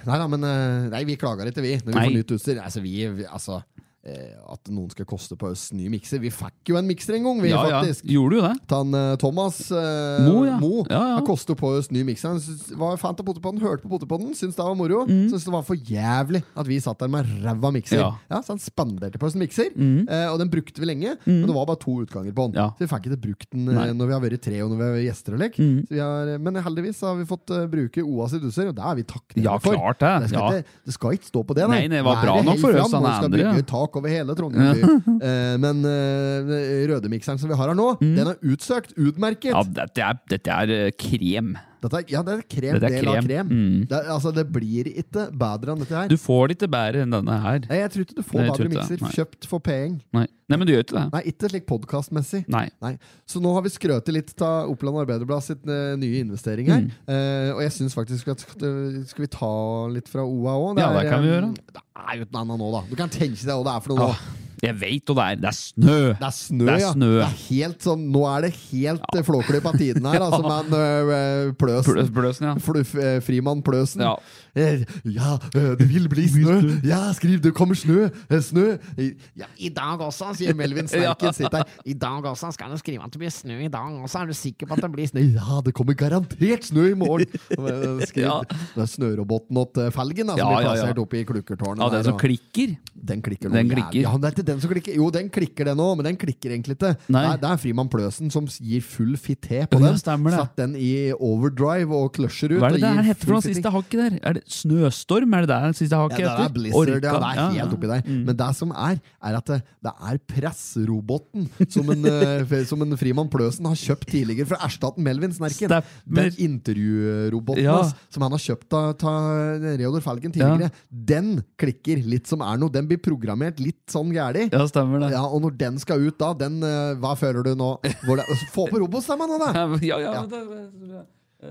Nei da, men eh, nei, vi klager ikke, vi. Når vi Nei. får nytt utstyr. Altså, vi, vi altså eh, At noen skal koste på oss ny mikser. Vi fikk jo en mikser en gang, vi, Ja, ja. faktisk. Gjorde du det? Tan, eh, Thomas eh, Mo, ja. Mo Ja, ja. Han kosta på oss ny mikser. Han syntes- var fan av potepodden, hørte på potepodden, syntes det var moro. Syntes det var for jævlig at vi satt der med ræva mikser. Mm. Ja. Mm. så han spanderte på oss en mikser, eh, og den brukte vi lenge. Men det var bare to utganger på den. Ja. Så vi fikk ikke brukt den eh, Nei. når vi har vært tre og når vi har vært gjester og lek. Mm. Så vi har, eh, men heldigvis har vi fått eh, bruke OA sitt utstyr, og det er vi takknemlige Ja, for. klart det. Det skal, Ja. ikke, det skal ikke stå på det, Nei, det var Da er bra nok helt for oss, fram, han og vi skal andre, ja. bygge tak over hele Trondheim by. Eh, men eh, rødemikseren som vi har her nå, den er utsøkt, utmerket. Mm. Ja, dette er, dette er eh, krem. Dette er, ja, det er krem, Dette er del av krem. krem. Mm. Det, er- altså, det blir ikke bedre enn dette her. Du får det ikke bedre enn denne her. Nei, jeg tror ikke du får Nei, jeg bedre tror ikke det. mikser Nei. kjøpt for penger. Nei, Nei men du gjør ikke det. Nei, ikke slik podkastmessig. Nei. Nei. Så nå har vi skrøtet litt av Oppland Arbeiderblad sitt eh, nye investering her. Mm. Eh, og jeg syns faktisk at sk- Skal vi ta litt fra OA òg? Ja, det kan vi gjøre. Det er jo ikke noe annet nå, da. Du kan tenke deg hva det er for noe Ah, nå. jeg veit hva det er. Det er snø! Det er snø, Det er ja. snø. Det er helt sånn, nå er det helt ja. flåklypa tiden her, altså, men øh, Pløsen. Blø- Bløsen, ja. Fluff, eh, frimann Pløsen. Ja. Eh, ja, eh, det vil bli snø! Ja, skriv, det kommer snø! Eh, snø! Eh, Ja, Ja, I dag også, sier Melvin Ja. Snerken. Sitt der. I dag også. Skal du skrive at det blir snø i dag også? Er du sikker på at det blir snø? ja, det kommer garantert snø i morgen! Eh, Skriv Ja. det er snøroboten til Felgen, da, som Ja, blir ja, ja. plassert oppe i klukkertårnet. Ja, der, den som og- klikker. Den klikker nå. Den jævlig. klikker. Ja, men det er ikke den som klikker. Jo, den klikker den òg, men den klikker egentlig ikke. Nei. Det er- Det er Frimann Pløsen som gir full fité på Ja, den. stemmer det. Satt den i overdrive og kløsjer ut. Hva er og det det gir her heter for full noe fitting. siste hakket der? Er det Snøstorm? Er det det siste Ja, det hakket er heter? Blizzard, ja, Orkan. det er helt oppi der. Mm. Men det som er, er at det, det er pressroboten som en, eh, som en Frimann Pløsen har kjøpt tidligere fra erstatten Melvin Snerken. Stemmer. Den intervjuroboten Ja. hans, som han har kjøpt av av Reodor Felgen tidligere, den klikker litt som er noe. Den blir programmert litt sånn gæli. Ja, stemmer det. Ja, og når den skal ut da, den, eh, hva føler du nå? Hvor det, få på robostemma nå, da! Ja, ja, Ja. det- det- eh,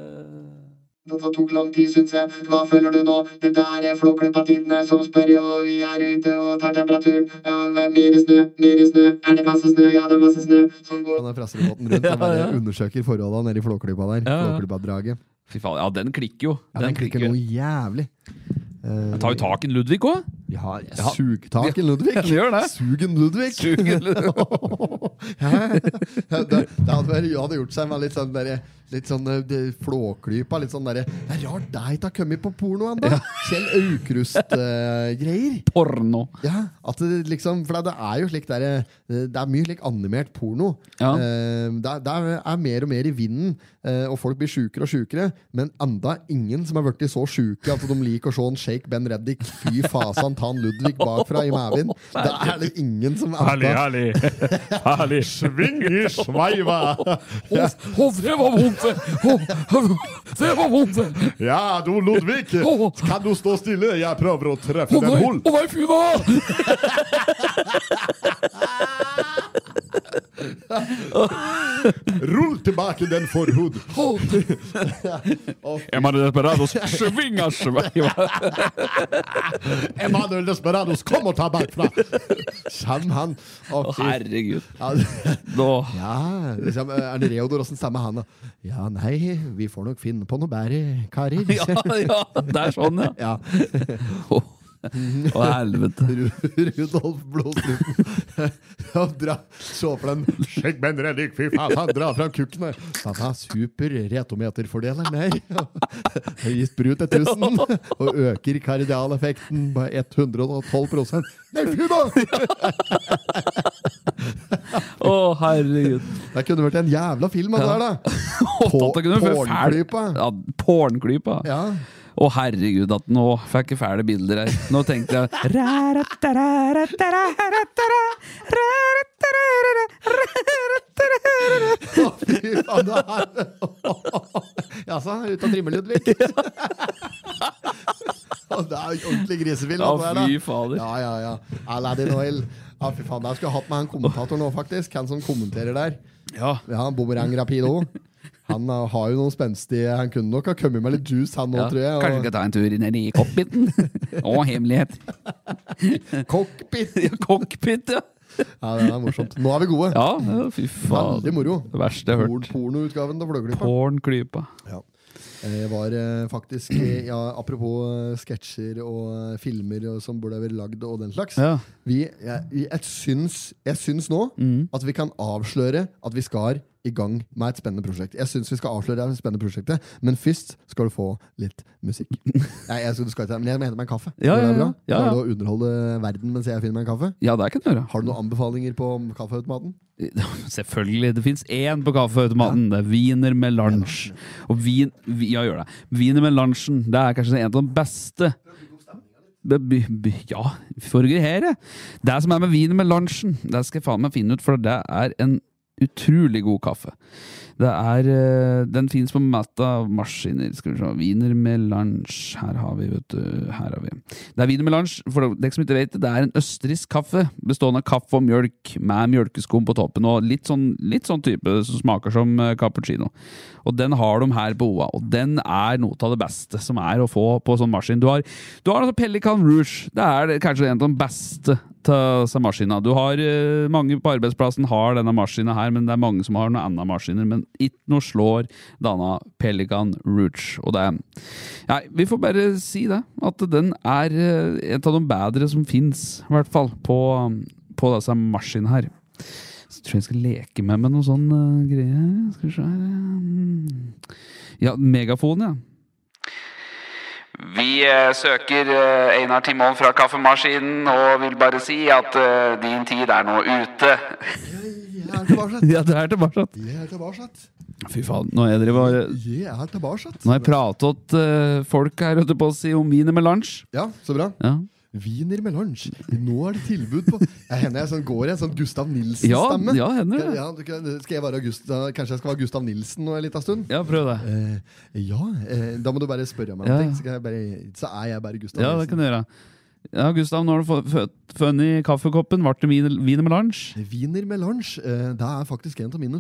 Det tok lang tid, syns jeg. Hva føler du nå? Det der er Flåklypa-tidene som spør, og vi er ute og tar temperaturen. Ja, mer snø, mer snø. Er det masse snø? Ja, det er masse snø. Som går Den der presseroboten rundt og bare Ja, ja. undersøker forholda nede i Flåklypa der. Ja, ja. Flåklypa-draget. Fy faen, ja, den klikker jo. Ja, den klikker noe jævlig. Eh, Den tar jo tak i en Ludvig òg. Ja, jeg Ja. sug taken Ludvig. Ja, den gjør det. Sugen Ludvig. Sugen Hæ? det, det hadde, vært, det hadde gjort seg med litt sånn derre Litt sånn eh, det- flåklypa. Litt sånn derre Det er rart deg ikke har kommet på porno ennå! Kjell eh, Aukrust-greier. Porno. Ja, at det liksom, for det er jo slik der, eh, Det er mye slik animert porno. Ja. Eh, Det, er- det er mer og mer i vinden, eh, og folk blir sjukere og sjukere. Men enda ingen som har blitt så sjuke at de liker å se en Shake Ben Reddik fy fasan ta en Ludvig bakfra i maven. Det er det ingen som er herlig. Herlig. Sving i sveiva. det var vondt! det var vondt! Ja, du Ludvig! Kan du stå stille? Jeg prøver å treffe nei, fy da! Rull tilbake den forhud! Er man desperat, sving av sveiva. Emanuel Desperados, kom og ta bakfra! Kjem han. Å, fy- Herregud. Ja, Nå. Ja, liksom, er det Reodor? Åssen stemmer han, da? Ja, nei, vi får nok finne på noe bedre, karer. Ja, ja, det er sånn, ja. Ja, Å, helvete. Ru- Rudolf Blodstrupen. Ja, dra, se for den Sjekk med en reddik, fy faen, han drar fram kukken her. Han har super retometerfordeleren her. Høyest brut er 1000, og øker kardialeffekten med 112 Nei, fy da! Å, herregud. Det kunne vært en jævla film, det der, da. Å, da kunne du få fæl- Pornklypa. Ja, pornklypa. Å, Ja. herregud, at nå fikk jeg fæle bilder her. Nå tenkte jeg Å, fy faen, det er Jaså, ut og trimme, Ludvig? Å, det er jo ordentlig grisefilm. Ja, dette her, da. fy fader. Ja, ja, ja. Aladdin Oil. Ja, fy faen, Jeg skulle hatt med han kommentatoren òg, faktisk. Han som kommenterer der. Ja. Ja, Boomerang Rapido. Han eh, har jo noen spenstige Han kunne nok ha kommet med litt juice, han nå, Ja, tror jeg. Kanskje vi og- skal ta en tur ned i cockpiten? Å, hemmelighet. Cockpit! Ja, Cockpit, ja. Ja, det er morsomt. Nå er vi gode. Ja, ja, fy faen. Veldig moro. Det verste jeg har Porn- hørt. Pornoutgaven av Fløglypa. Pornklypa. Ja. Eh, Jeg var eh, faktisk eh, ja, Apropos eh, sketsjer og eh, filmer og, som burde ha vært lagd og den slags. Ja. Vi, jeg, jeg, syns, jeg syns nå Mm. at vi kan avsløre at vi skal i gang med et spennende prosjekt. Jeg syns vi skal avsløre det spennende prosjektet, men først skal du få litt musikk. Nei, jeg, skal- du skal ikke, men jeg må hente meg en kaffe. Ja, Går det ja, bra? ja, ja. Klarer du å underholde verden mens jeg finner meg en kaffe? Ja, det kan du gjøre. Har du noen anbefalinger på kaffeautomaten? Selvfølgelig. Det fins én på kaffeautomaten. Det er wiener med lunsj. Og vin, vi- ja, gjør det. Wiener med lunsjen det er kanskje en av de beste Be- by- by- Ja, forrige her, ja. Det som er med wiener med lunsjen, det skal jeg faen meg finne ut, for det er en utrolig god kaffe. Det er, eh, den fins på Mata Maskiner. Skal vi se. Wiener med lunsj. Her har vi, vet du. Her har vi. Det er wiener med lunsj. For dere som ikke vet det, det er en østerriksk kaffe bestående av kaffe og mjølk med mjølkeskum på toppen og litt sånn, litt sånn type som smaker som eh, cappuccino. Og den har de her på OA, og den er noe av det beste som er å få på sånn maskin. Du har, du har altså Pelican Rouge. Det er det- kanskje en av de beste av disse maskinene. Du har eh, mange på arbeidsplassen har denne maskinen her, men det er mange som har noen andre maskiner. Men ikke noe slår denne Pelican Rouge. Og det er Nei, vi får bare si det. At den er eh, et av de bedre som fins, i hvert fall, på, på disse maskinene her. Så tror jeg jeg skal leke med med noe sånn eh, greie her. Skal vi se her eh, mm. Ja, megafon, ja. Vi eh, søker eh, Einar Timon fra Kaffemaskinen og vil bare si at eh, din tid er nå ute. Jeg er tilbake. Ja, det er tilbake. Jeg er tilbake. Fy faen, nå er jeg driver bare Jeg er tilbake. Nå har jeg pratet eh, folk her ute på å si om viner med lunsj. Ja, så bra. Ja. Wiener med lunsj. Nå er det tilbud på Jeg hender jeg sånn går i en sånn Gustav Ja, Nilsen-stemme. ja, hender det. Ja, du kan- skal jeg være Gustav, kanskje jeg skal være Gustav Nilsen nå en liten stund? ja, prøv det. Eh, ja, eh, da må du bare spørre meg om Ja, ting, ja. så, kan jeg bare, så er jeg bare Gustav Ja, det Nilsen. kan du gjøre. Ja, Gustav, nå har du få- fø- funnet kaffekoppen. Ble det vin- viner med lunsj? Wiener med lunsj eh, det er faktisk en av mine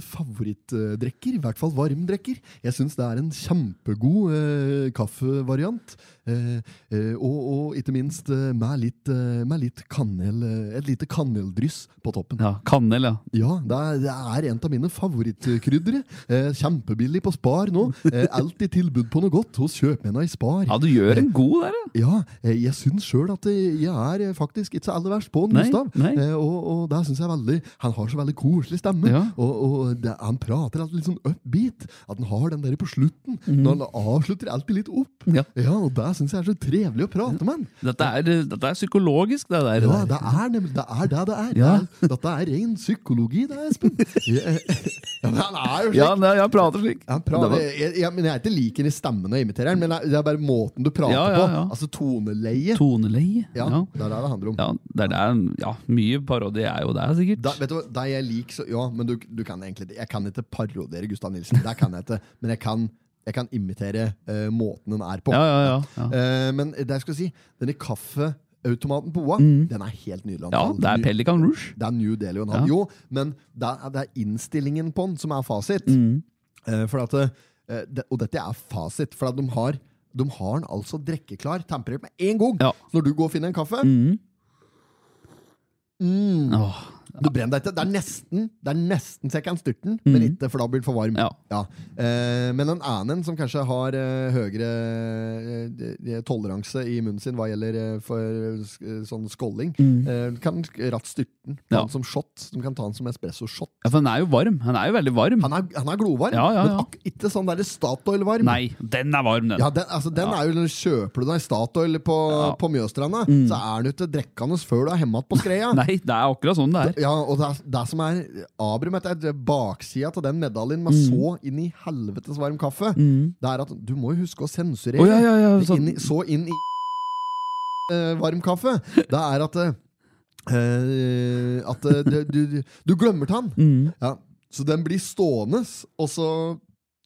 favorittdrekker. I hvert fall varmdrekker. Jeg syns det er en kjempegod eh, kaffevariant. Eh, eh, og, og ikke minst eh, med litt, eh, med litt kanel, eh, et lite kaneldryss på toppen. Ja, Kannel, ja. Ja, det er, det er en av mine favorittkryddere. Eh, kjempebillig på Spar nå. Eh, alltid tilbud på noe godt hos kjøpmennene i Spar. Ja, du gjør en god der, ja. Ja, eh, jeg syns sjøl at eh, jeg er eh, faktisk ikke så aller verst på den, Nei, Gustav. nei. Eh, Og, og det syns jeg er veldig Han har så veldig koselig stemme, Ja. og, og det, han prater alltid litt sånn upbeat. At han har den der på slutten, når han avslutter alltid litt opp. Mhm. Ja. og det syns jeg er så trevelig å prate med han. Dette er, dette er psykologisk, det der. Ja, det er nemlig det er det det er. Ja. Det er- Dette er ren psykologi, det, Espen. Ja, men han er jo slik. Ja, nei, jeg prater slik. Han Det prater, var- jeg, jeg, men jeg er ikke lik ham i stemmen og imiterer han, men det er bare måten du prater Ja, ja, på. ja. Altså toneleie. Toneleie. Ja, Ja. det er det det handler om. Ja, det er det- ja, mye parodi er jo det, sikkert. Da, vet du hva, da er jeg lik, så ja, men du, du kan egentlig Jeg kan ikke parodiere Gustav Nilsen, det kan jeg ikke. Men jeg kan, jeg kan imitere eh, måten den er på. Ja, ja, ja. ja. Eh, men det jeg skulle si, denne kaffeautomaten på OA, den er helt nydelig. Mm. ja Han- det er Pelican Rouge. Det er New Delhi og en Ja. halv. Jo, men det er, det er innstillingen på den som er fasit. Mm. Eh, for at, eh, det, og dette er fasit, for at de har, de har den altså drikkeklar, temperert med én gang. Ja. Mm. Så når du går og finner en kaffe Mm. Åh, Du brenner deg ikke. Det er nesten Det er nesten så jeg kan styrte den, men ikke, for da blir den for varm. Mm. Ja. Eh, men en annen som kanskje har eh, høyere eh, de- de- toleranse i munnen sin hva gjelder eh, for, eh, sk- eh, sånn skåling, eh, kan ratt styrte den. Ta Mm. Ja. den som shot. De kan ta den som espresso-shot. ja, for han er jo varm. Han er jo veldig varm. Han er, han er glovarm, Mm. Ja, ja, men ja. ak ikke sånn der Statoil-varm. Nei, den er varm, den. Ja, den, altså, den er jo, når du Kjøper du deg Statoil på, Ja. Mm. på Mjøstranda, så er den jo ikke drikkende før du har hemmet på skreia. Nei, det er akkurat sånn det er. Ja, og det, er- det som er Abrum, det er baksida til den medaljen Mm. med så inn i helvetes varm kaffe, det er at du må jo huske å sensurere. Å, ja, ja, ja, Det sånn. inn i, så inn i eh, varm kaffe. Det er at eh, eh, At eh, du, du, du glemmer tann. Mm. Ja. Så den blir stående, og så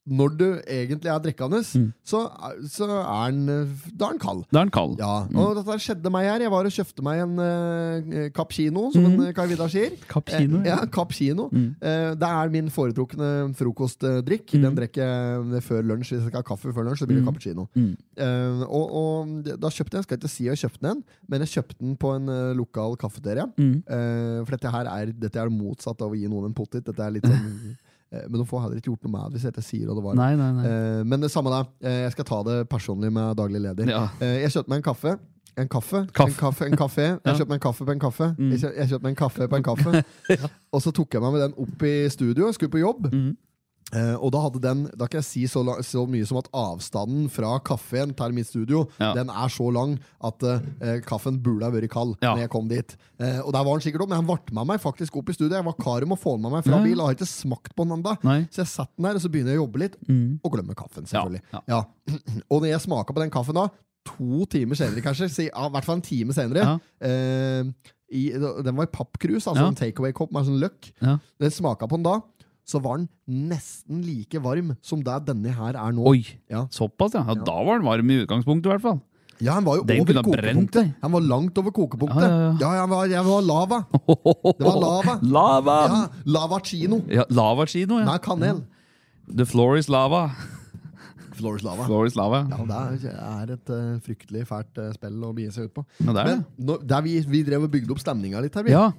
når du egentlig er drikkende, så, er- så er den eh, Da er den kald. Da er den kald. Ja, og dette skjedde meg her. Jeg var og kjøpte meg en uh, cappuccino, som en eh, Kai Vidar sier. Cappuccino, Eh, ja, cappuccino. Eh, det er min foretrukne frokostdrikk. Den drikker jeg før lunsj. Hvis jeg skal ha kaffe før lunsj, så blir det cappuccino. Eh, og, og da kjøpte jeg, skal jeg ikke si jeg kjøpte den, men jeg kjøpte den på en eh, lokal kafeteria. Eh, for dette her er, dette er motsatt av å gi noen en pottit. Dette er litt sånn Eh, Men hun får heller ikke gjort noe med det hvis jeg ikke sier hva det var. Nei, nei, nei. Eh, men det samme da. Eh, jeg skal ta det personlig med daglig leder. Ja. Eh, jeg kjøpte meg en kaffe. En kaffe, Kaff. en kaffe, en kaffe. Jeg Ja. Mm. kjøpte meg en kaffe på en kaffe. Jeg kjø- Jeg kjøpte meg en kaffe på en kaffe. Og så tok jeg meg med den opp i studio og skulle på jobb. Mm. Eh, og da hadde den, da kan jeg si så, la- så mye som at avstanden fra kaffen til mitt studio Ja. Den er så lang at eh, kaffen burde ha vært kald Ja. Når jeg kom dit. Eh, og der var han sikkert opp, men han ble med meg faktisk opp i studio. Jeg var kar om å få den med meg fra Ja. bil. Jeg har ikke smakt på den ennå. Nei. Mm. Så jeg satt den der, og så begynner jeg å jobbe litt, og glemmer kaffen, selvfølgelig. Ja, Ja. Og når jeg smaker på den kaffen da, to timer senere kanskje, si, ja, i hvert fall en time senere, eh, i, den var i pappkrus, altså Ja. en takeaway-kopp med sånn løkk. Ja. Når jeg smaket på den da, så var den nesten like varm som det denne her er nå. Oi, Ja. såpass, ja. ja. Da var den varm i utgangspunktet, i hvert fall. Ja, han var jo Den over kunne ha kokepunktet. brent deg. Han var langt over kokepunktet. Ja, Ja, ja, ja. han var, jeg var lava. Det var lava. Lava! Ja, lava chino. Ja, Lavakino, ja. Nei, kanel. The floor is lava. Flores lava. Floor is lava. Ah. Ja, det er- er et eh, fryktelig fælt eh, spill å begi seg ut på. Ja, det er Men nå, der vi, vi drev og bygde opp stemninga litt her, vi. Ja,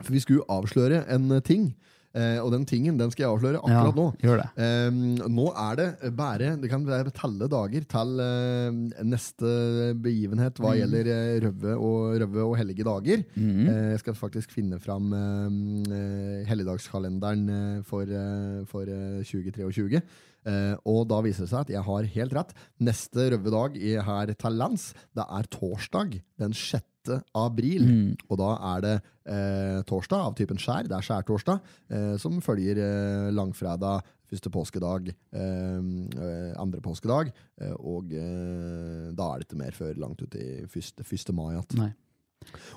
For vi skulle jo avsløre en eh, ting. Eh, og den tingen den skal jeg avsløre ja. akkurat nå. gjør det. Eh, nå er det bare Det kan være telle dager til eh, neste begivenhet hva Mm. gjelder eh, røve og, røve og hellige dager. Mhm. Eh, jeg skal faktisk finne fram eh, eh, helligdagskalenderen eh, for, eh, for eh, 2023. Eh, og da viser det seg at jeg har helt rett. Neste røvedag i, her til lands, det er torsdag den 6. april. Og da er det eh, torsdag av typen skjær, det er skjærtorsdag, eh, som følger eh, langfredag, første påskedag, eh, eh, andre påskedag, eh, og eh, da er det ikke mer før langt ut i 1. mai igjen. Nei.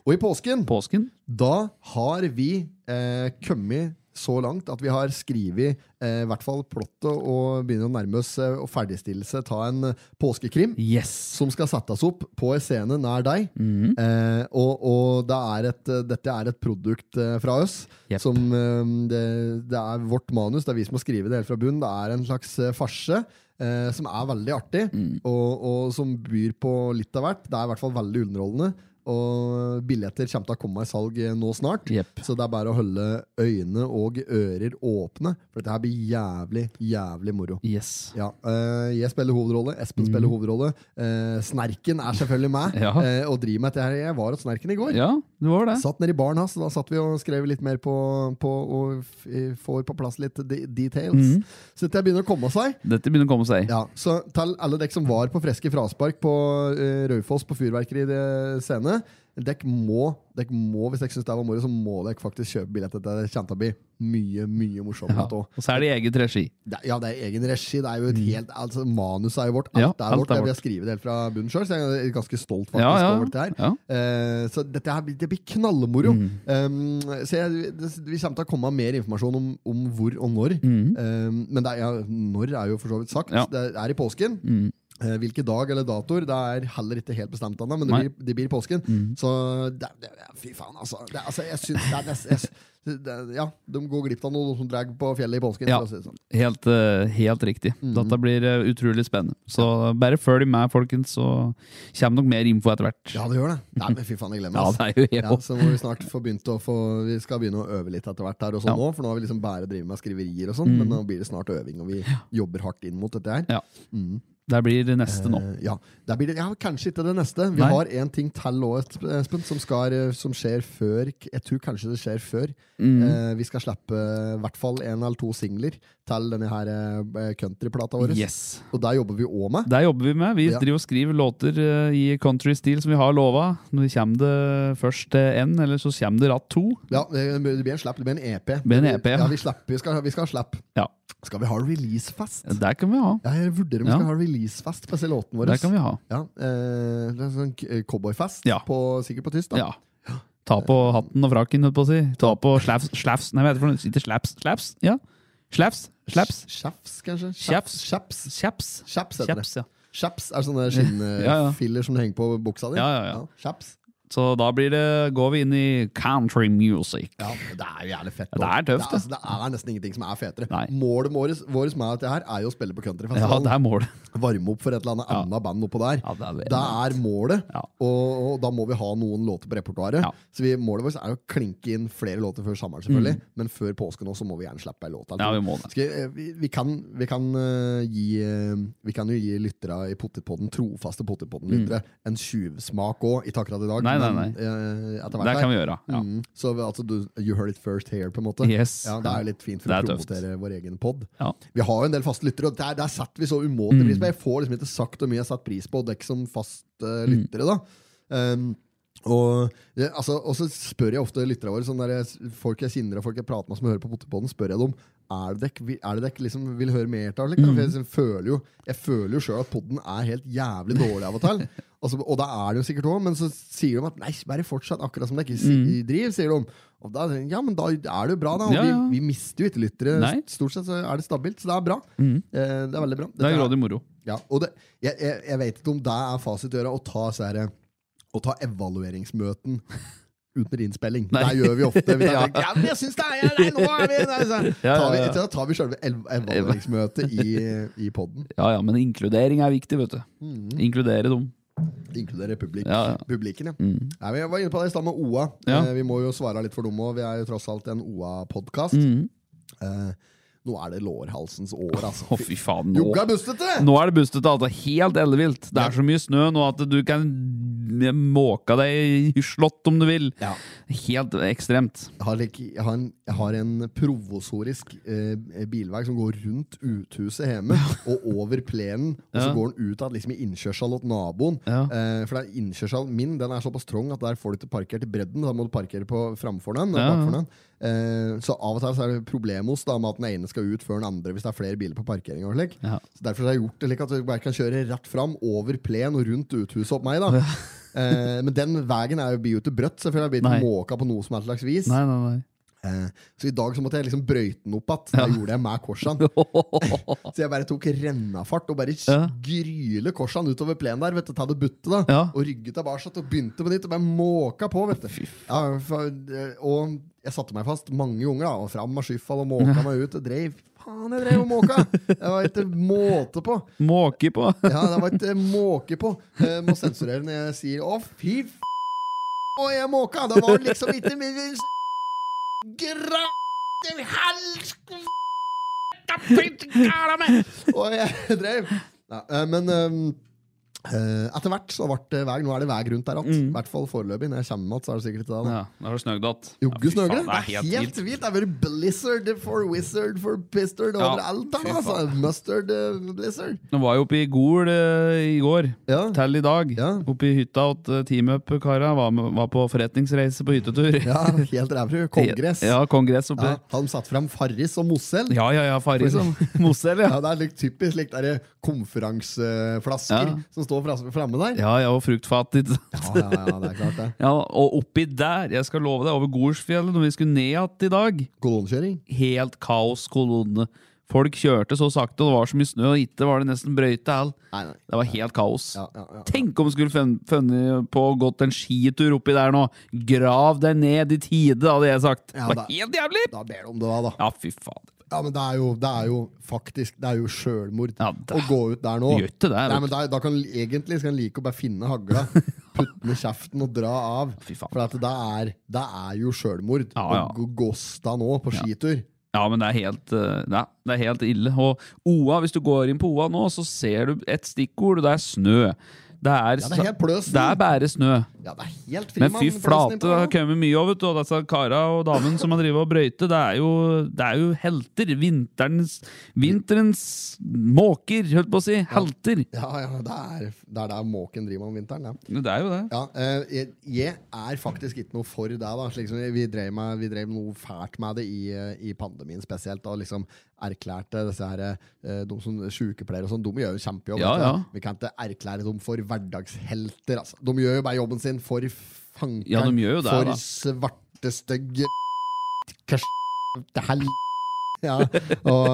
Og i påsken Påsken? da har vi eh, kommet så langt at vi har skrevet eh, i hvert fall plottet og begynner å nærme oss eh, og ferdigstillelse av en eh, påskekrim Yes! som skal settes opp på en scene nær deg. Mhm. eh, og og det er et, eh, dette er et produkt eh, fra oss. Jepp. Som, eh, det, det er vårt manus, det er vi som må skrive det helt fra bunnen. Det er en slags eh, farse. eh, som er veldig artig, Mhm. og, og som byr på litt av hvert. Det er i hvert fall veldig underholdende. Og billetter kommer til å komme i salg eh, nå snart. Jepp. Så det er bare å holde øyne og ører åpne, for dette her blir jævlig, jævlig moro. Yes. Mhm. Ja, øh, Jeg spiller hovedrolle, Espen spiller hovedrolle. Eh, snerken er selvfølgelig meg, Ja. eh, og driver med dette. her. Jeg var hos Snerken i går. Ja, det var det. Satt nede i baren hans, og da satt vi og skrev litt mer på, på og f- eh, får på plass litt de Mhm. details. Så dette begynner å komme seg. Dette begynner å komme seg. Ja, så til alle dere som var på Freske Fraspark på eh, Raufoss på Fyrverkeri eh, scene, dere må, dere må, hvis dere syns det var moro, så må dere faktisk kjøpe billett. Dette kommer til å bli mye, mye morsommere. Ja. Ja. Og så er det i eget regi. Det, ja, det er egen regi. Det er jo et helt, altså, manuset er jo vårt. Alt Mm. Ja, er vårt. Jeg vil skrive det helt fra bunnen sjøl, så jeg er ganske stolt faktisk Ja, ja. over dette her. Ja. Mm. Eh, så dette her blir, det blir knallmoro. Um, så jeg, det, vi kommer til å komme med mer informasjon om, om hvor og når. Um, men det er, ja, når er jo for så vidt sagt. Mm. Ja. Mm. Det er i påsken. Eh, Hvilken dag eller datoer det er heller ikke helt bestemt ennå, men det Nei. Mm. blir, det blir i påsken. Så det, det, fy faen, altså. Det, altså jeg synes, det er nest, jeg, det, Ja, de går glipp av noe, de som drar på fjellet i påsken. Ja. for å si det sånn. Helt, eh, helt riktig. Mhm. Dette blir eh, utrolig spennende. Så bare følg med, folkens, så kommer nok mer info etter hvert. Ja, det gjør det. Nei, men fy faen, jeg glemmer Ja, det. det er jo jeg Ja, så også. må vi snart få begynt å få Vi skal begynne å øve litt etter hvert her og sånn Ja. Mm. nå, for nå har vi liksom bare drevet med skriverier og sånn, men nå blir det snart øving, og vi jobber hardt inn mot dette her. Mm. Ja. Det blir det neste nå. Eh, ja. Der blir det, ja, kanskje ikke det neste. Vi Nei. har en ting til òg, Espen, som, skal, eh, som skjer før Jeg tror kanskje det skjer før. Mm. Eh, vi skal slippe i hvert fall en eller to singler til denne her eh, countryplata vår. Yes. Og der jobber vi òg med. Der jobber vi med. Vi Ja. driver og skriver låter eh, i country-stil som vi har lova. Når kommer det først til én, eller så kommer det ratt to. Ja, det det blir en slapp, det blir en EP. blir en EP, ja. ja. vi, slapp, vi skal, vi skal ha slapp. Ja, Skal vi ha releasefest? der kan vi ha. Ja, jeg vurderer om vi Ja. skal ha releasefest på disse låtene våre. Der kan vi ha. Ja, eh, det er en sånn k- cowboyfest, Ja. på, sikkert på tysk. da. Ja. Ta på hatten og frakken, holdt på å si. Ta på slaps, slaps. Nei, hva heter det for noe? Ikke slaps, slaps? Ja. Slaps, slaps, Chaps, kanskje? Chaps. Chaps. kjaps. Chaps heter Kjaps, ja. det. Chaps er sånne eh, skinnfiller Ja, ja. som du henger på buksa di. Ja, ja, ja. Chaps. Så da blir det, går vi inn i country music. Ja, men Det er jo jævlig fett. Ja, det er tøft, Det, altså, det er nesten ingenting som er fetere. Nei. Målet vårt vårt med dette her er jo å spille på Ja, countryfestivalen. Altså, det er målet. Varme opp for et eller annet annet band oppå der. Ja, det er veldig det er målet, Ja. og, og da må vi ha noen låter på repertoaret. Ja. Så vi, målet vårt er jo å klinke inn flere låter før sommeren, selvfølgelig. Men før påske nå så må vi gjerne slippe ei låt. eller Mm. Ja, to. vi må det. Skal, jeg- eh, vi, vi, kan, vi, kan, eh, gi, eh, vi kan jo gi lytterne i Pottitpodden, trofaste Pottitpodden-lyttere, en tjuvsmak òg, ikke akkurat i dag. Mm. Nei, nei, men, eh, etter hvert Det her. kan vi gjøre. Ja. Mm, så vi- altså, du, you heard it first here, på en måte. Yes. Ja, det er jo litt fint for Det å er tøft. promotere vår egen pod. Ja. Mm. Vi har jo en del faste lyttere, og der, der setter vi så umåtelig pris på. Jeg får liksom ikke sagt hvor mye jeg setter pris på, og det er ikke som faste Mm. lyttere, da. Um, og, ja, altså, og så spør jeg ofte lytterne våre, sånn der, jeg- folk jeg kjenner og folk jeg prater med som hører på Potterpodden, spør jeg dem er det dere er det dere liksom vil høre mer av. Mm. Liksom? For Jeg, liksom føler jo, jeg føler jo sjøl at podden er helt jævlig dårlig av og til. Og, så, og da er det jo sikkert òg, men så sier de at nei, bare fortsett akkurat som dere si- driver. sier de. Og da, tenker jeg, ja, men da er det jo bra, da. Og Mm. Ja, ja. Vi, vi mister jo ikke lyttere. Nei. Mm. Stort sett så er det stabilt, så det er bra. Eh, det er veldig bra. Det er Dette grådig moro. ja, og det, jeg, jeg, jeg vet ikke om det er fasit å gjøre, å ta, så her, å ta evalueringsmøten under innspilling. Nei. Det gjør vi ofte. Vi tar, Ja. tenker, ja, men jeg syns det er nei, nå er vi, nei, så, Ja, tar vi, ja, ja. Da tar vi selve ev- evalueringsmøtet i, i poden. Ja, ja, men inkludering er viktig, vet du. Mm. Inkludere dem. Inkludere publik, Ja, ja. publikken. Ja. Nei, men jeg var inne på det i stad med OA. Ja. Eh, vi må jo svare litt for dem òg. Vi er jo tross alt en OA-podkast. Mm. Eh, nå er det lårhalsens år, altså. Å, fy faen. Nå, Jogga er bustete! nå er det bustete. Altså, helt ellevilt. Det er så mye snø nå at du kan måke deg i slott om du vil. Ja. Helt ekstremt. Jeg har, like, jeg har en, jeg har en provosorisk eh, bilvei som går rundt uthuset hjemme og over plenen. Og så Ja. går den ut av liksom, i innkjørselen til naboen. Ja. Eh, for det er innkjørselen min den er såpass trang at der får du ikke parkert i bredden. Da må du parkere på framfor den. og Ja, ja. bakfor den. Eh, så av og til så er det problemos da, med at den ene skal ut før den andre hvis det er flere biler på parkeringa. og slik. Ja. Så Derfor har jeg gjort det slik at du bare kan kjøre rett fram, over plen og rundt uthuset opp meg. da. Eh, men den veien er jo blir jo ikke brøtt, selvfølgelig. Jeg blir Nei. ikke måka på noe som helst slags vis. Nei, nei, nei. Eh, Så i dag så måtte jeg liksom brøyte den opp igjen. Det gjorde jeg med korsene. Så jeg bare tok rennafart og bare Ja. gryle korsene utover plenen der. Vet du, ta det buttet da Ja. Og rygget tilbake og begynte på nytt. Og bare måka på, vet du. Ja, for, eh, og jeg satte meg fast mange ganger, da. Og fram av skyfall og måka meg ut. Og dreiv. Faen, jeg dreiv og måka! Det var ikke måte på. Måke på. Ja, det var ikke måke på. Eh, må sensurere når jeg sier 'å, fy f***, og jeg måka'. Det var liksom ikke min Gratis helsk... Og jeg drev. Ja, eh, men ehm, eh, etter hvert så ble det vei. Nå er det vei rundt der igjen. I hvert fall foreløpig. Når jeg kommer med igjen, så er det sikkert ikke det. da. Mm. Ja, da har du snøgd att. Jogge Ja, fy snøgre? faen, Det er helt vilt. vilt! Det har vært blizzard for wizard for pistard Ja, overalt. der, fy Altså. faen. Mustard eh, blizzard. Nå var jeg oppe i Gol eh, i går, Ja. til i dag. Ja. Oppe i hytta til Team Up-kara. Var, med- var på forretningsreise på hyttetur. Ja, helt rævru. Kongress. Ja, kongress oppi Ja, har de satt fram Farris og Mosell? Ja, ja, ja, Farris som Mosell, ja. Ja, det er litt typisk likt der konferanseflasker Ja. som står fra- framme der. Ja, ja, og fruktfat. ikke sant? Ja, ja, ja, det er klart det. Ja, og oppi der, jeg skal love deg, over Golsfjellet, når vi skulle ned igjen i dag, Kolonnekjøring. helt kaoskolonne. Folk kjørte så sakte, og det var så mye snø, og ikke var det nesten brøyte all. Nei, nei. Det var helt kaos. Ja, ja, ja. Tenk om du skulle fun- funnet på å gått en skitur oppi der nå. Grav deg ned i tide, hadde jeg sagt. Ja, det var da- helt jævlig! Da ber du om det, da. da. Ja, fy faen. Ja, men det er jo, det er jo faktisk Det er jo sjølmord Ja, det- å gå ut der nå. Gjør ikke det, vet Nei, du. men da, da kan egentlig skal en like å bare finne hagla, putte den i kjeften og dra av. Fy faen. For at det, er, det er jo sjølmord Ja, ja. å gå gosta nå på skitur. Ja, men det er helt, eh, nei, det er helt ille. Og OA, hvis du går inn på OA nå, så ser du et stikkord, og det er snø. Det er, Ja, det er helt pløsen. Det er bare snø. Ja, det er helt fri, Men mann, fy flate, forresten, det har innpå. kommet mye òg, vet du. Og disse kara og damene som har drevet og brøyte, det er jo, det er jo helter. Vinterens, vinterens måker, holdt på å si. Helter. Ja, ja, det er, det er der måken driver med om vinteren. Ja. Det er jo det. Ja, eh, jeg, jeg er faktisk ikke noe for det. da Slik som Vi drev, med, vi drev noe fælt med det i, eh, i pandemien spesielt. Og liksom erklærte disse her eh, de som sykepleiere og sånn, de gjør jo kjempejobb. Ja, vet du. ja. Vi kan ikke erklære dem for hverdagshelter. Altså. De gjør jo bare jobben sin for fankeren. Ja, de gjør jo det, for da. svarte, stygge hel... Ja, og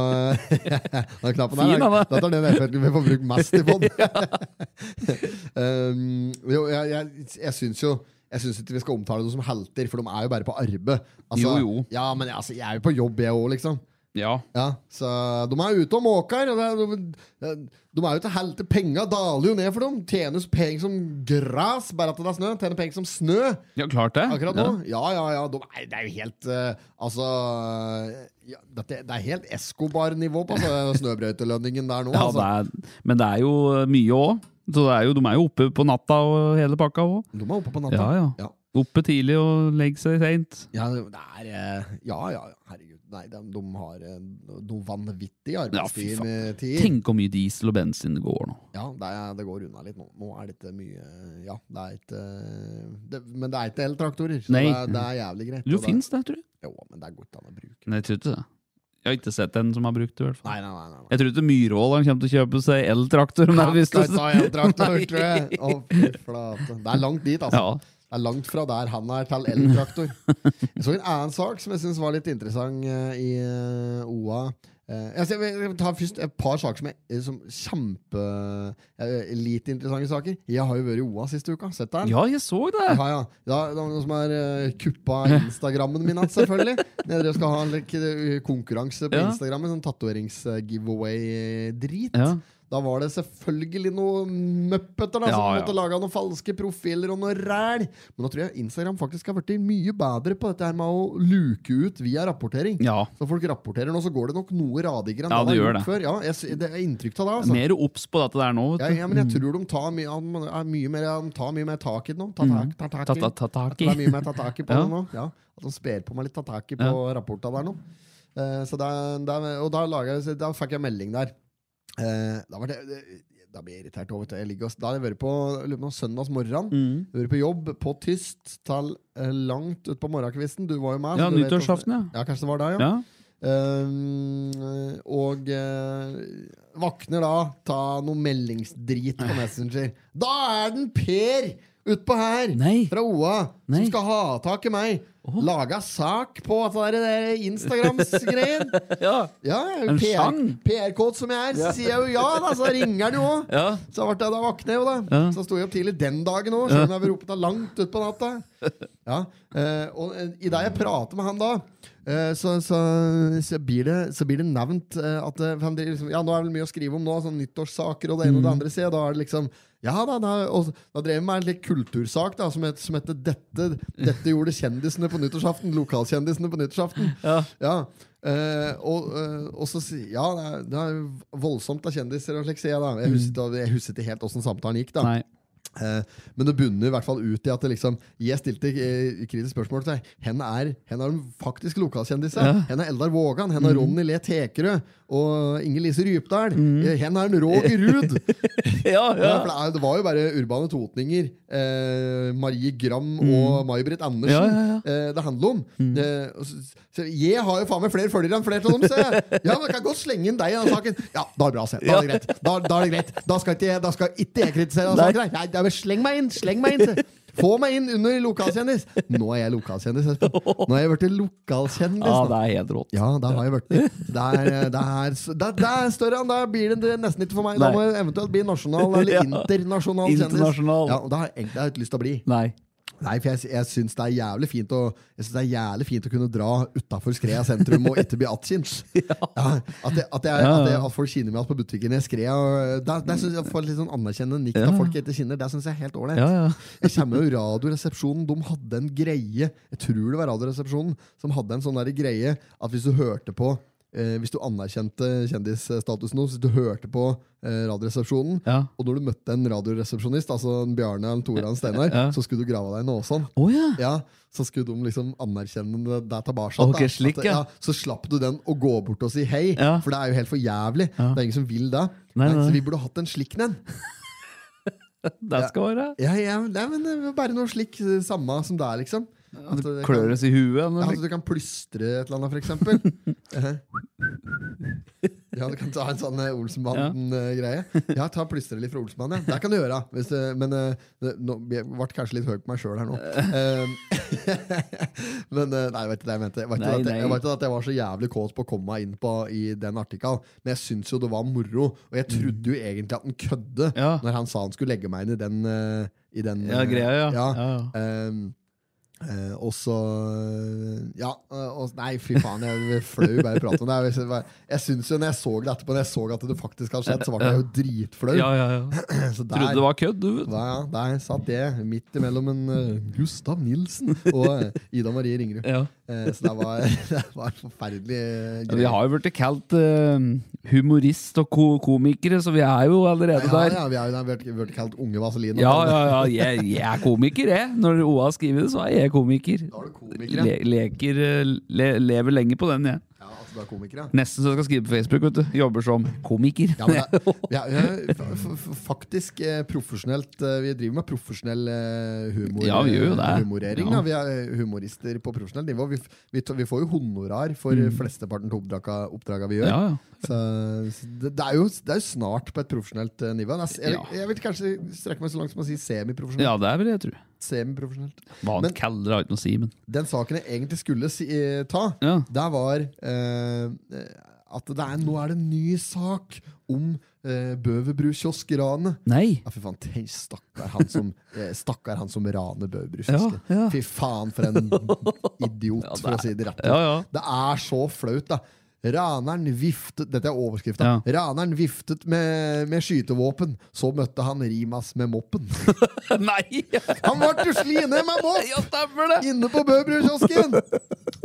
Den knappen Fin, der, da, da. dette er den effekten vi får Ehm, brukt mest i podden. Um, jo, jeg jeg, jeg syns jo Jeg syns ikke vi skal omtale dem som helter, for de er jo bare på arbeid. Altså, Jo, jo. Ja, men altså, jeg er jo på jobb, jeg òg, liksom. Ja. Ja, så De er ute og måker. Og det, er- de, de er jo til helvete. Penga daler jo ned for dem. Tjenes penger som gras, bare at det er snø. Tjener penger som snø ja, klart det. akkurat nå. Ja, ja, ja. De, er- det er jo helt eh, Altså ja, dette, Det er helt Escobar-nivå på altså, snøbrøytelønningen der nå. Ja, altså. det er, men det er jo eh, mye òg. Så det er jo, de er jo oppe på natta og hele pakka òg. De er oppe på natta. Ja, ja. Ja. Oppe tidlig og legge seg seint. Ja, det er eh, Ja, ja, ja, herregud. Nei, de, de har eh, noe vanvittig Ja, fy arbeidstid. faen. med tid. Tenk hvor mye diesel og bensin det går nå. Ja, det, er, det går unna litt nå. Nå er dette mye Ja, det er ikke det, Men det er ikke eltraktorer, så det Nei. er, det er jævlig greit. Jo, og det- fins det, tror jeg. Jo, men det er godt an å bruke. Nei, jeg tror ikke det. Jeg har ikke sett en som har brukt det, i hvert fall. Nei, nei, nei. nei, nei. Jeg tror ikke Myhrvolderen kommer til å kjøpe seg eltraktor. om det er Han hvis skal det- ikke ha eltraktor, Nei. tror jeg. Å, fy flate. Det er langt dit, altså. Ja. Det er langt fra der han er, til eltraktor. Jeg så en annen sak som jeg syns var litt interessant eh, i eh, OA. Eh, jeg skal- jeg tar først et par saker som er som kjempe eh, lite interessante saker. Jeg har jo vært i OA siste uka. Sett deg? ja, jeg så det! Ja, ja. Da, det er noen som har eh, kuppa Instagrammen min igjen, selvfølgelig. Dere skal ha en lek- konkurranse på Ja. Instagram, en sånn tatoverings-giveaway-drit. Ja. Da var det selvfølgelig noen muppeter da, som Ja, ja. måtte lage noen falske profiler og noe ræl. Men nå tror jeg Instagram faktisk har blitt mye bedre på dette her med å luke ut via rapportering. ja. Så folk rapporterer nå, så går det nok noe radigere enn Ja, det det har gjør gjort det. før. Ja, jeg, sy- det er inntrykk av det, altså. Mer obs på dette der nå. Ja, Vet du. ja, men jeg tror de tar mye, er mye, mer, de tar mye mer tak i det nå. Ta tak, ta tak i Ta, det. ta, ta tak At det er i. mye mer tataki på Ja. det nå. Ja, at de sper på meg litt tataki på rapporta der nå. Eh, så der, der, og da, laget, jeg- da fikk jeg melding der. Eh, da, var det, det- da blir jeg irritert. over det. Jeg ligger, og- da har jeg vært på, jeg lurer på om søndags morgen. Mm. Vært på jobb på tyst til eh, langt utpå morgenkvisten. Du var jo med. Ja, så du vet nyttårsaften, hvordan- Ja, kanskje det var deg, ja. Ja. Eh, og eh, våkner da, ta noe meldingsdrit på Messenger. Da er den Per utpå her! Nei. fra OA Nei. som skal ha tak i meg. Laga sak på at det der Instagrams-greien. Ja. Ja, jeg er jo En PR, sang. PR-kåt som jeg er, så sier jeg jo ja, da, så ringer han jo òg. ja. Så ble jeg da våkner jeg jo, da. Ja. Så sto jeg opp tidlig den dagen òg, selv om jeg ble ropet av langt utpå natta. Ja, eh, og eh, i det jeg prater med han da, eh, så, så, så, blir det, så blir det nevnt eh, at eh, for han driver liksom, Ja, nå er det vel mye å skrive om nå, sånn nyttårssaker og det ene og det Mm. andre. sier jeg. Da er det liksom ja da, da, og så- da drev vi med en litt kultursak da, som het som heter dette, 'Dette gjorde kjendisene på nyttårsaften'. Lokalkjendisene på nyttårsaften. Ja. Ja. eh, og, eh, og så si, Ja, det er, det er voldsomt av kjendiser og slik, sier jeg da. Jeg husker ikke- jeg husker ikke helt åssen samtalen gikk, da. Mm. Nei. Eh, men det bunner i hvert fall ut i at det liksom, jeg stilte eh, kritisk spørsmål til deg. Hen er, hen er de faktiske lokalkjendisene. Ja. Hen er Eldar Vågan, hen er Ronny Le Tekerød og Inger Lise Rypdal. Eh, Hen er en Roger Ruud. Ja, ja. Ja, for det er- Det var jo bare urbane totninger. Eh, Marie Gram og May-Britt Andersen Mm. Ja, ja, Mm. Eh, det handler om. Eh, og så, så jeg har jo faen meg flere følgere enn flere av dem, ser jeg. Ja, men jeg kan godt slenge inn deg i den saken. Ja, da er det bra, se. Da er det greit. Da, da er det greit. Da skal ikke, jeg- da skal ikke jeg kritisere den Nei. saken. her. Nei, ja, men sleng meg inn! Sleng meg inn! se. Få meg inn under lokalkjendis! Nå er jeg lokalkjendis, Espen. Nå er jeg blitt lokalkjendis. ja, nå. det er helt rått. Ja, da har jeg vært det. Det er, eh, det er, det, det er større enn det blir det nesten ikke for meg. Da Nei. må jeg eventuelt bli nasjonal eller Ja. internasjonal kjendis. Internasjonal. Ja, og det har jeg egentlig ikke lyst til å bli. Nei. Nei, for jeg, jeg syns det er jævlig fint å Jeg synes det er jævlig fint å kunne dra utafor Skrea sentrum og ikke bli attkjent. Ja, at, jeg- at, jeg- at, jeg- at folk kjenner meg igjen på butikken i Skrea. og Der, der synes jeg får litt sånn anerkjennende nikk av folk jeg ikke kjenner. Det syns jeg er helt ålreit. Ja, ja. Jeg kommer jo Radioresepsjonen. De hadde en greie Jeg tror det var Radioresepsjonen som hadde en sånn der greie at hvis du hørte på eh, Hvis du anerkjente kjendisstatusen hos, hvis du hørte på eh, Radioresepsjonen, Ja. og når du møtte en radioresepsjonist, altså en Bjarne eller Tora eller Steinar, Ja. så skulle du grave deg i nåsen. Å ja. Ja, så skulle de liksom anerkjenne det der tilbake. Ok, da. slik, At, ja. så slapp du den å gå bort og si hei, Ja. for det er jo helt for jævlig. Ja. Det er ingen som vil det. Nei, Nei, nei. Så vi burde hatt en slik en. Det skal være. Ja, ja, nei, men det er bare noe slik eh, samme som det er, liksom. At det kan- Kløres i huet. Ja, altså, eller- så du kan plystre et eller annet, for eksempel. Eh, Ja, du kan ta en sånn eh, Olsenbanden-greie. Ja, ta plystrelig fra Olsenbanden. Ja. Det kan du gjøre. Hvis, eh, men eh, det, nå, jeg ble kanskje litt høy på meg sjøl her nå. Eh, men eh, nei, vet du det jeg mente? Jeg vet, Nei, ikke at, jeg, nei. jeg vet ikke at jeg var så jævlig kåt på å komme meg inn på i den artikkelen, men jeg syns jo det var moro. Og jeg trodde jo egentlig at han kødde Ja. når han sa han skulle legge meg inn i den, eh, i den Ja, eh, greia, ja. ja. Ja, ja. Ehm, eh, og så Ja, eh, og, nei, fy faen, jeg blir flau bare å prate om det. Jeg, synes bare- jeg syns jo, når jeg så det etterpå, når jeg så at det faktisk hadde skjedd, så var jeg jo dritflau. Ja, ja, ja. Så der, Trodde det var kødd, du. vet. der, der satt jeg midt imellom en eh, Gustav Nilsen og eh, Ida Marie Ringerud. Ja. Eh, så det var, det var forferdelig eh, Vi har jo blitt kalt eh, humorist og ko komikere, så vi er jo allerede ja, der. ja, vi har jo vært, vært kalt unge vaseliner. Ja, ja, ja. Jeg, jeg er komiker, jeg. Når OA har skrevet det, så er jeg komiker. Da er du komiker. Le leker, eh, le lever lenge på den, jeg. Ja, altså, du er komiker, ja. Nesten så jeg skal skrive på Facebook. vet du Jobber som komiker. Ja, men det, ja, ja, fa- fa- fa- faktisk eh, profesjonelt eh, Vi driver med profesjonell eh, humor, Ja, vi gjør jo det. humorering. Ja. Da. Vi er eh, humorister på profesjonelt nivå. Vi, f- vi, ta- vi får jo honorar for flesteparten av oppdraga, oppdraga vi gjør. Mm. Ja, ja. Så, så det, det, er jo, det er jo snart på et profesjonelt eh, nivå. Det er s- Jeg, Ja. vil- jeg vil kanskje strekke meg så langt som å si semiprofesjonelt. ja, det er vel det jeg tror. Semiprofesjonelt. Hva han Men- kaller det, har jeg ikke noe å si, men Den saken jeg egentlig skulle si, eh, ta, Ja. der var eh, eh, at det er, nå er det en ny sak om eh, Bøverbru kiosk-ranet. Nei! Ja, fy faen, tenk stakkar han som, eh, stakkar han som raner Bøverbrusk. Ja, ja. Fy faen, for en idiot, for å si det rett ut. Ja, ja. Det er så flaut, da. Raneren viftet Dette er overskrifta. Ja. Raneren viftet med, med skytevåpen. Så møtte han Rimas med moppen. Nei! Han ble jo slien med Ja, mopp! stemmer det! Inne på Bøverbrukiosken!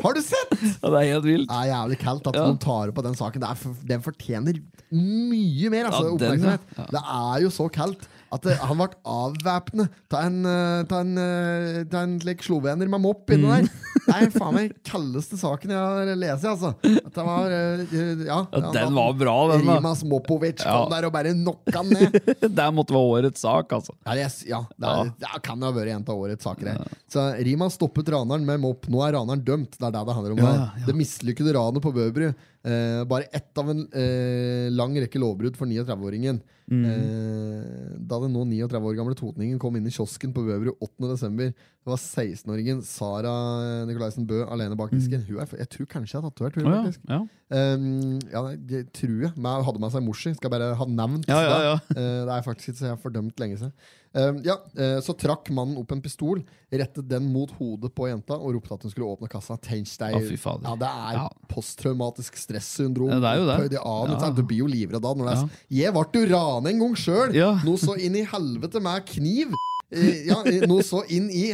Har du sett? Ja, det er helt vilt. Det er jævlig kaldt at Ja. man tar opp på den saken. Det er, f- den fortjener mye mer altså, Ja, den, ja. oppmerksomhet. Det er jo så kaldt at eh, han ble avvæpnet Ta en, eh, ta en, eh, ta en slik slovener med mopp inni Mm. der. Det er faen meg kaldeste saken jeg har lest, altså. At det var, eh, eh, ja, Ja, den var bra, den. da Rimas Mopovic Ja. kom der og bare knocka han ned. Det måtte være årets sak, altså. Ja, det, er- ja, det, er, Ja. det kan jo ha vært en av årets saker her. Så Rima stoppet raneren med mopp. Nå er raneren dømt. Det er det det handler om. Ja, da. ja. Det mislykkede ranet på Bøbru. Eh, bare ett av en eh, lang rekke lovbrudd for 39-åringen. Mm. Eh, da den nå 39 år gamle totningen kom inn i kiosken på Bøbru 8.12., var 16-åringen Sara eh, Nikolaisen Bø alene bak disken. Hun er, f- jeg tror kanskje jeg har tatovert Mm. Å, henne, ja. faktisk. Ja. Um, ja, det tror jeg. Men jeg hadde med seg morsi. Skal bare ha nevnt Ja, ja, ja. det. Eh, det er faktisk ikke så jeg har fordømt lenge siden. Um, ja, eh, så trakk mannen opp en pistol, rettet den mot hodet på jenta og ropte at hun skulle åpne kassa. Tenk deg, Å, fy fader. ja, det er Ja. posttraumatisk stressyndrom. Ja, det er jo det. opphøyd i annen, Ja. ikke sant? Du blir jo livredd da. Når det er, s- Jeg ble jo ranet en gang sjøl! Ja. Noe så inn i helvete med kniv! Eh, ja, eh, noe så inn i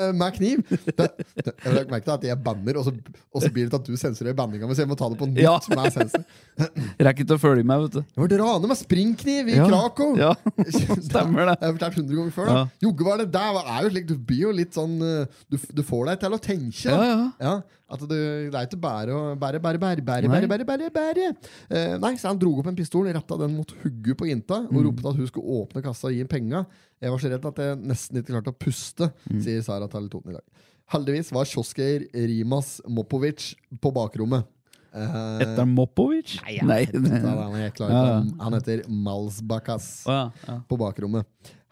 eh, med kniv. Det, det, jeg har merket at jeg banner, og så, og så blir det til at du sensurerer banninga mi. Så jeg må ta det på nytt. Ja. med sensor. Rekker ikke å følge med, vet du. Jeg ble ranet med springkniv i Ja. Krakow! Ja, Det stemmer det. har jeg fortalt 100 ganger før. da Ja. Jogge var det der var- er jo slik, Du blir jo litt sånn eh, Du, du får deg til å tenke. da. Ja, ja. Ja, At du, det er ikke bare å bære, bære, bære, bære, Nei. bære, bære, bære, bære. Eh, Nei, så han dro opp en pistol, retta den mot hugget på jenta og Mm. ropte at hun skulle åpne kassa og gi penga. Jeg var så redd at jeg nesten ikke klarte å puste, Mm. sier Sara til Toten i dag. Heldigvis var kiosker Rimas Mopovic på bakrommet. Eh, Etter Mopovic? Nei. da var han, helt klar. Ja, ja. han heter Malsbakas Å, ja, ja. på bakrommet.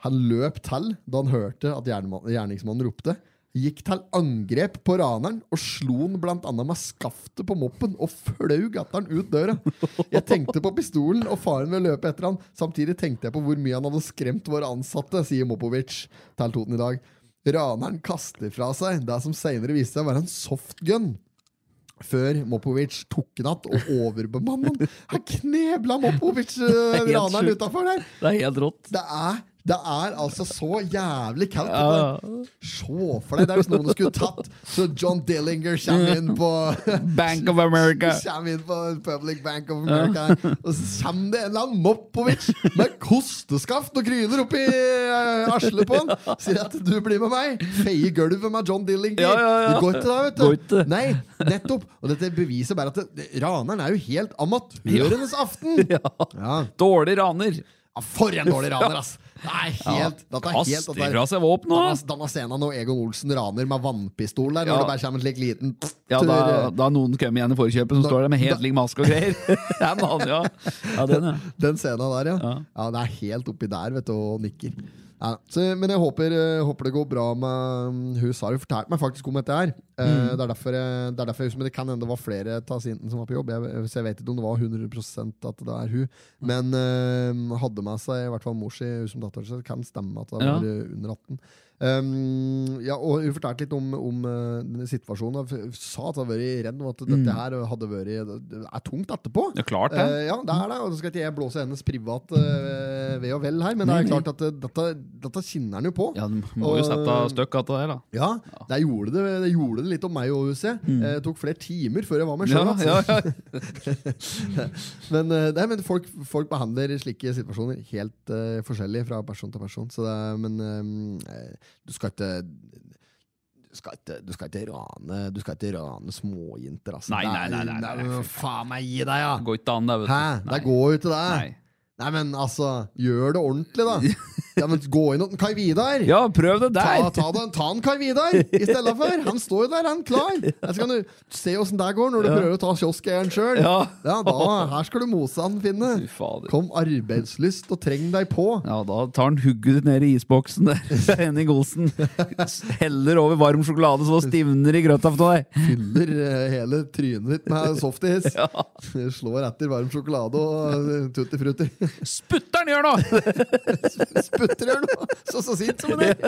Han løp til da han hørte at gjernemann- gjerningsmannen ropte. Gikk til angrep på raneren og slo han blant annet med skaftet på moppen og fløy gatteren ut døra. Jeg tenkte på pistolen og faren ved å løpe etter han. Samtidig tenkte jeg på hvor mye han hadde skremt våre ansatte, sier Mopovic til Toten i dag. Raneren kaster fra seg det som senere viste seg å være en softgun før Mopovic tok natt og overbemannet han. Han knebla Mopovic, eh, helt raneren sjukt. utafor der. Det er helt rått. Det er, det er altså så jævlig kaldt. Ja. dette. Se for deg det er hvis noen skulle tatt så John Dillinger kommer inn på Bank of America. Kommer inn på Public Bank of America her, og så kommer det en eller annen Mopovic med kosteskaft og kryner oppi uh, arslet på han. Sier at 'du blir med meg'. Feier gulvet med John Dillinger. Ja, ja, ja. Det går ikke, da, vet Går du. ikke. Nei, nettopp. Og dette beviser bare at det, raneren er jo helt amatørenes aften. Ja. Dårlig raner. Ja, for en dårlig raner, ass! Nei, helt, dette er helt Kaster dette er, fra seg våpenet! Danna- Danna Senan og Egon Olsen raner med vannpistol der, når Ja. det bare kommer en slik liten Ja, da, tur, eh, da har noen kommet igjen i forkjøpet som Da- står der med da- helt lik maske og greier. ja, men han, ja. ja, den, ja. Den scenen der, ja. ja. Ja. Det er helt oppi der, vet du, og nikker. Ja, så, men jeg håper, eh, håper det går bra med mm, Hun har jo fortalt meg faktisk om dette her. Mm. Eh, det, er derfor, jeg- det er derfor jeg husker, men det kan hende det var flere av sintene som var på jobb. Jeg, så jeg vet ikke om det var 100 at det er hun. Men eh, hadde med seg i hvert fall mor si hun som datter, så det kan stemme at det Ja. var eh, under 18. Um, ja, og Hun fortalte litt om, om eh, denne situasjonen. og Hun sa at hun hadde vært redd om at dette her hadde vært, eh, det er tungt etterpå. Det er Mm. klart, det. Eh, ja, det er det. Og så skal ikke jeg blåse hennes privat eh, ved og vel her, men det er klart at eh, dette, dette kinner han jo på. Ja, du må jo sette støkk av det der, da. Ja, det gjorde det, det gjorde det litt om meg òg, husker jeg. Eh, Det tok flere timer før jeg var med sjøl. Mm. altså. Ja, ja, ja. Men, eh, nei, men folk, folk behandler slike situasjoner helt eh, forskjellig fra person til person. Så det, er- men eh, du skal ikke du skal, ikke, du, skal ikke rane, du skal ikke rane småjenter, altså. Nei, nei, Det nei, nei, er- nei, nei. det er- Faen meg, gi deg, ja! Det går ikke an, det, vet du. Hæ? Det går jo ikke det. Nei. Nei, men altså, gjør det ordentlig, da. Ja, men Gå inn hos Kai Vidar! Ja, prøv det Ta, der! ta, den, ta en Kai Vidar i stedet for! Han står jo der, han klar! Jeg skal nå se åssen det går når du prøver å ta kioskeieren sjøl. Ja. Ja, da, her skal du mose han, Finne. Fy fader. Kom arbeidslyst og treng deg på. Ja, da tar han hugget ditt ned i isboksen der. Henning Olsen heller over varm sjokolade så det stivner i grøta på deg. Fyller eh, hele trynet ditt med softis. Slår etter varm sjokolade og eh, tutti frutti. Sputter'n gjør noe! Sputter gjør noe! Så så sint som det er!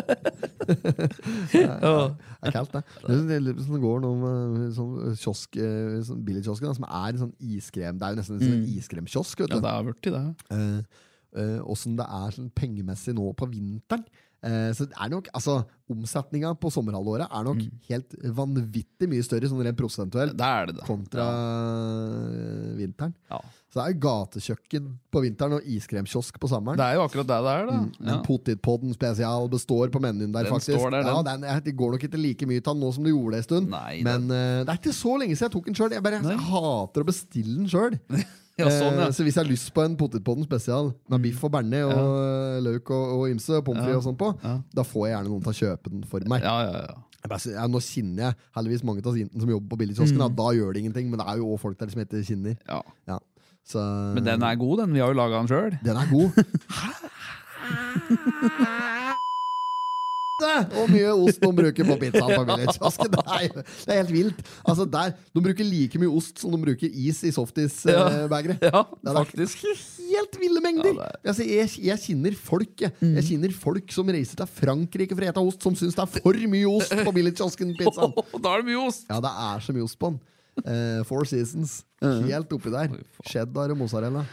Det er kaldt, det. Det er sånn- det er sånn det går nå med sånn kiosk, eh, sånn billigkiosken, da, som er en sånn iskrem. Det er jo nesten en sånn iskremkiosk. vet Mm. Ja, du. det er blitt det. Eh, eh, Åssen det er sånn pengemessig nå på vinteren. Eh, så det er nok, altså, Omsetninga på sommerhalvåret er nok helt vanvittig mye større sånn rent prosentuelt Mm. Det er det, da. kontra eh, vinteren. Ja. Så det er jo gatekjøkken på vinteren og iskremkiosk på sommeren. Det er jo akkurat det det er, da. Men Ja. potetpodden spesial består på menyen der, Den faktisk. står der, den. Ja, den, er- det går nok ikke like mye til den nå som det gjorde en stund. Nei, men eh, det er ikke så lenge siden jeg tok den sjøl. Jeg bare altså, jeg hater å bestille den sjøl. Ja, sånn, ja. Mm. Så hvis jeg har lyst på en potetpodden spesial med biff og bearnés og eh, løk og, og ymse og pommes frites og sånn på, da får jeg gjerne noen til å kjøpe den for meg. Ja, ja, ja. Jeg bare, sier- ja, nå kjenner jeg heldigvis mange av jentene som jobber på billigkiosken. Mm. Da, da gjør det ingenting, men det er jo også folk der som heter Kinner. ja. Ja. Så, Men den er god, den. Vi har jo laga den sjøl. den er god. Hvor mye ost de bruker på pizzaen på Village-kiosken. Det, er jo- det er helt vilt. Altså, der, de bruker like mye ost som de bruker is i softis-bagere. Ja, Det er faktisk. Helt ville mengder! Ja, det Mm. altså, jeg, jeg kjenner folk jeg. jeg kjenner folk som reiser til Frankrike for å spise ost, som syns det er for mye ost på Village-kiosken-pizzaen. Da er det mye ost! Ja, det er så mye ost på den. Eh, four Seasons. Mm. Helt oppi der. Cheddar og mozzarella.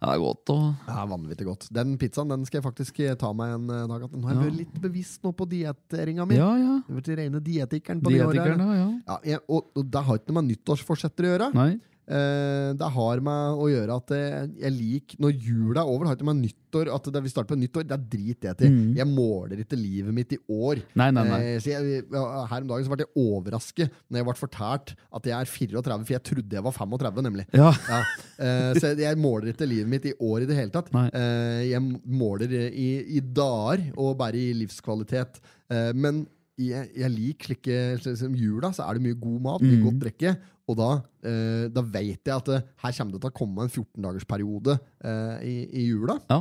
Ja, det er godt å Det er vanvittig godt. Den pizzaen den skal jeg faktisk eh, ta meg en eh, dag. at Nå har jeg vært litt bevisst nå på dietteringa mi. Ja, ja. Jeg har vært rene dietikeren på de åra. Dietikeren, da. Ja. Ja, jeg, og, og det har ikke noe med nyttårsforsetter å gjøre. Nei. Eh, det har med å gjøre at jeg, jeg liker Når jula er over, det har ikke med nyttår At det, vi starter på nyttår, det driter jeg til. Jeg måler ikke livet mitt i år. Mm. Nei, nei, nei. Eh, så jeg, ja, her om dagen så ble jeg overrasket når jeg ble fortalt at jeg er 34, for jeg trodde jeg var 35, nemlig. Ja. Ja. Eh, så jeg- jeg måler ikke livet mitt i år i det hele tatt. Nei. Eh, jeg måler i, i dager og bare i livskvalitet. Eh, men jeg, jeg liker slike slik som jula, så er det mye god mat, mye godt drikke. Og da, eh, da vet jeg at eh, her kommer det til å komme en 14-dagersperiode eh, i, i jula. Ja.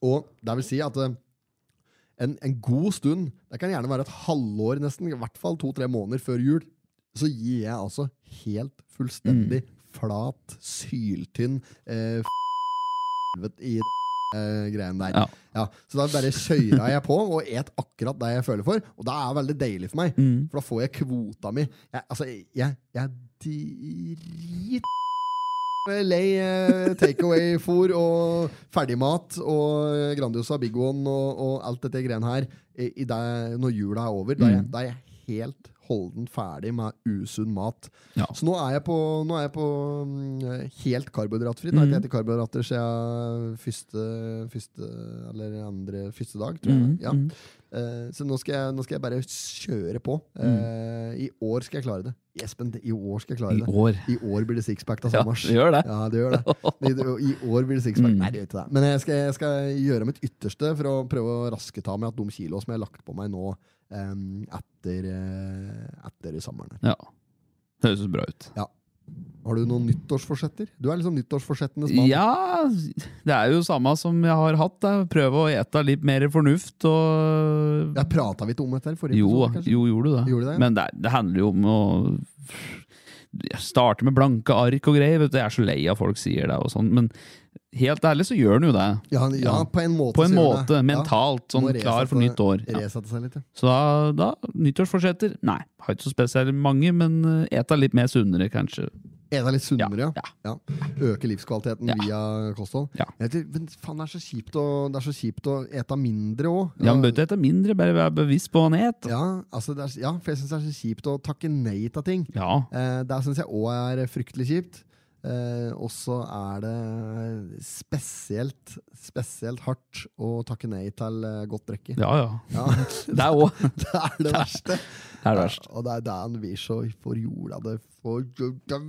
Og det vil si at eh, en, en god stund, det kan gjerne være et halvår nesten, i hvert fall to-tre måneder før jul, så gir jeg altså helt fullstendig flat, syltynn eh, helvete i eh, greien der. Ja. så da bare kjører jeg på og et akkurat det jeg føler for, og det er veldig deilig for meg, for da får jeg kvota mi. Jeg, altså, jeg, jeg drit Lei eh, takeaway-fôr og ferdigmat og eh, Grandiosa Big One og, og alt dette greiene her i, i det, når jula er over. Da er, jeg, da er jeg helt holden ferdig med usunn mat. Ja. Så nå er jeg på, nå er jeg på mm, helt karbohydratfri. Nå har jeg Mm. ikke spist Mm, karbohydrater siden første, første eller andre første dag, tror jeg. Ja. Eh, så nå skal, jeg, nå skal jeg bare kjøre på. Eh, I år skal jeg klare det. Espen, det- i år skal jeg klare Mm. I det. år. I år blir det sixpack av Ja, sommers. det gjør det. Mm. Ja, det gjør det. I, I år blir det sixpack. Nei, det gjør ikke det. Men jeg skal, jeg skal gjøre mitt ytterste for å prøve å raske ta med at de kilo som jeg har lagt på meg nå em, etter, eh, etter sommeren. her. Ja. Det høres bra ut. Har du noen nyttårsforsetter? Du er liksom nyttårsforsettenes mann. Ja, det er jo samme som jeg har hatt. Da. Prøve å ete litt mer fornuft og Ja, Prata vi ikke om dette her i forrige Jo, episode? kanskje? jo gjorde du det. Gjorde det, ja. Men det, er- det handler jo om å starte med blanke ark og greier. Vet du. Jeg er så lei av folk sier det og sånn, men helt ærlig så gjør den jo det. Ja, han- ja, Ja. på en måte. På en så gjør måte, det. mentalt, Ja, sånn må klar for resette- nytt år. Ja. Resette seg litt, ja. Så da, da nyttårsforsetter? Nei, har ikke så spesielt mange, men eh, eta litt mer sunnere, kanskje. Ene litt sunnere, ja. Ja, ja. Øke livskvaliteten Ja. via kosthold. Ja. Jeg vet ikke, men faen, det er så kjipt å, det er så kjipt å ete mindre òg. Ja, men bør ikke ete mindre, bare være bevisst på hva en et. ja, altså det er, ja, for jeg syns det er så kjipt å takke nei til ting. Ja. Eh, der syns jeg òg er fryktelig kjipt. Eh, og så er det spesielt, spesielt hardt å takke nei til eh, godt drikke. Ja, ja. Ja, Det er òg Det det er det verste. er det verste. Og det er der han blir så forjola det forjola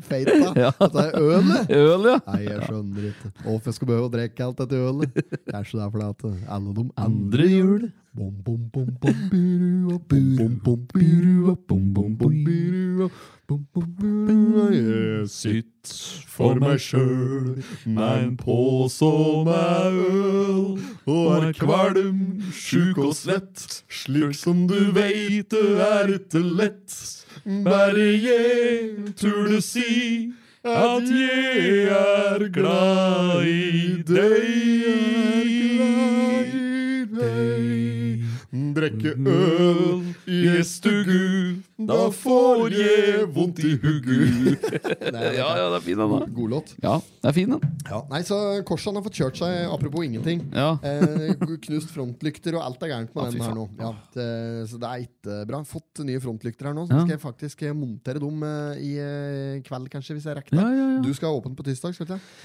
Feita. Ja. Det er ølet. Øl, ja. Nei, jeg skjønner ikke. Hvorfor jeg skal behøve å drikke alt dette ølet? Det er så der flate. Alle de andre Andre jul. Bom, bom, bom, bom, birua, bom, bom, birua, bom, bom, bom, birua, bom, bom, birua. Jeg sitter for meg sjøl med en påse med øl og er kvalm, sjuk og svett, slik som du veit det er ikke lett. Bare jeg turde si at jeg er glad i deg. Drekke øl i stugu, da får jeg vondt i huggu. Ja, ja, det er fin den, da. God låt. Ja, det er fin den. Ja. Nei, så Korsan har fått kjørt seg, apropos ingenting. Ja. Eh, knust frontlykter og alt er gærent med Ja, fy den her nå. faen. Ja, det, så det er ikke bra. Fått nye frontlykter her nå, så Ja. skal jeg faktisk eh, montere dem eh, i eh, kveld, kanskje, hvis jeg rekker det. Ja, ja, ja. Du skal ha åpent på tirsdag, skal ikke jeg?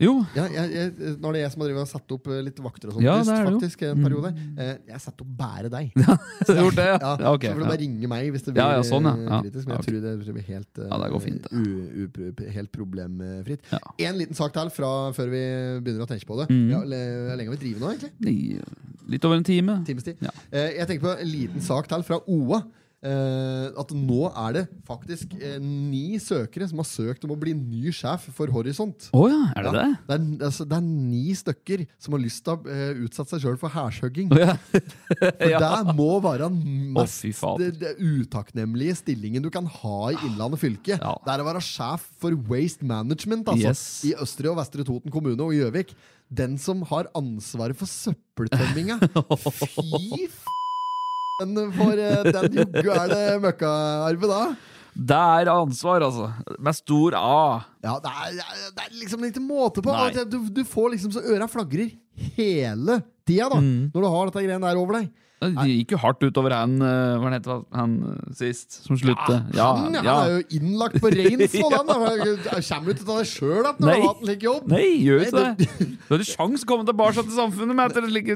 Jo. Ja, jeg, jeg, nå er det jeg som har drevet og satt opp eh, litt vakter og sånt Ja, sist, det er det jo. faktisk, en periode. Eh, jeg satte opp bare deg. Du har gjort det, ja? Ja, Ja, ok. så får du Ja. bare ringe meg hvis det blir Ja, ja, sånn, ja. eh, Ja. kritisk. Men Ja, jeg ok. tror det tror jeg blir helt, eh, Ja, det går fint, det. u- u- pro- helt problemfritt. Ja. Mm. En liten sak til fra før vi begynner å tenke på det. Ja, le- Hvor lenge har vi drevet nå, egentlig? Ni- Litt over en time. Times tid. Ja. Eh, jeg tenker på en liten sak til fra OA. Eh, at nå er det faktisk eh, ni søkere som har søkt om å bli ny sjef for Horisont. Å ja, er Ja, det det? det, er, altså, det er ni stykker som har lyst til å eh, utsette seg sjøl for hærhugging. Å ja. For Ja. det må være den Å, mest fy faen. det, det utakknemlige stillingen du kan ha i Innlandet fylke. Ja. Det er å være sjef for Waste Management altså, Yes. i Østre og Vestre Toten kommune og Gjøvik. Den som har ansvaret for søppeltømminga. Fy f***en for eh, den joggu er det møkkaarvet da. Det er ansvar, altså. Med stor A. Ja, det er, det er- det er liksom ikke måte på. Nei. At Du, du får liksom så øra flagrer hele tida da, Mm. når du har dette greiene der over deg. Det gikk jo hardt utover han eh, Hva het han eh, sist, som sluttet? han, ja, han er jo innlagt på Reinsvoll, han! da. Han Kommer ut av deg sjøl igjen når Nei. du har hatt en slik jobb. Nei, gjør ikke Nei, det! Du hadde sjans å komme tilbake til samfunnet med etter en slik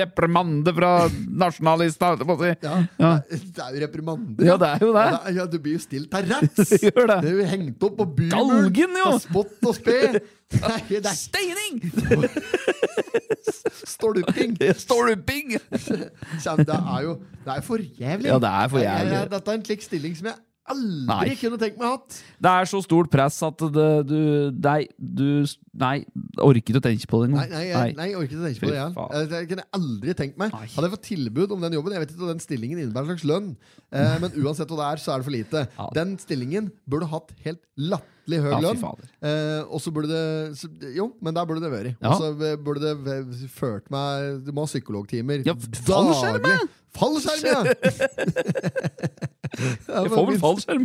reprimande fra nasjonalista. holdt jeg på å si. Ja. Ja. Det er jo reprimander. Ja, det er jo det. Ja, ja, du blir jo stilt til retts! Det gjør det. Det er jo hengt opp på bymuren. Galgen, jo! På spott og spe. Det er, jo- det er Steining! stolping. Stolping! Kjem, Det er jo det er for jævlig. Ja, det er for Jeg- jeg- jævlig. Dette er en slik stilling som jeg aldri Nei. kunne tenkt meg å ha hatt. Det er så stort press at det, du Nei, du Nei, orker ikke å tenke på det engang. Nei, nei, jeg, nei, jeg orker ikke tenke på Fy det. Jeg, faen. jeg, jeg kunne aldri tenkt meg Hadde jeg fått tilbud om den jobben Jeg vet ikke om den stillingen innebærer en slags lønn, eh, men uansett hva det er, så er det for lite. Ja. Den stillingen burde hatt helt latterlig høy Ja, fy lønn. fader. Eh, og så burde det så, Jo, men der burde det vært. Ja. Og så eh, burde det v- ført meg Du må ha psykologtimer. Ja, f- fallskjerm, ja! Daglig. Fallskjerm, ja! Jeg får vel fallskjerm.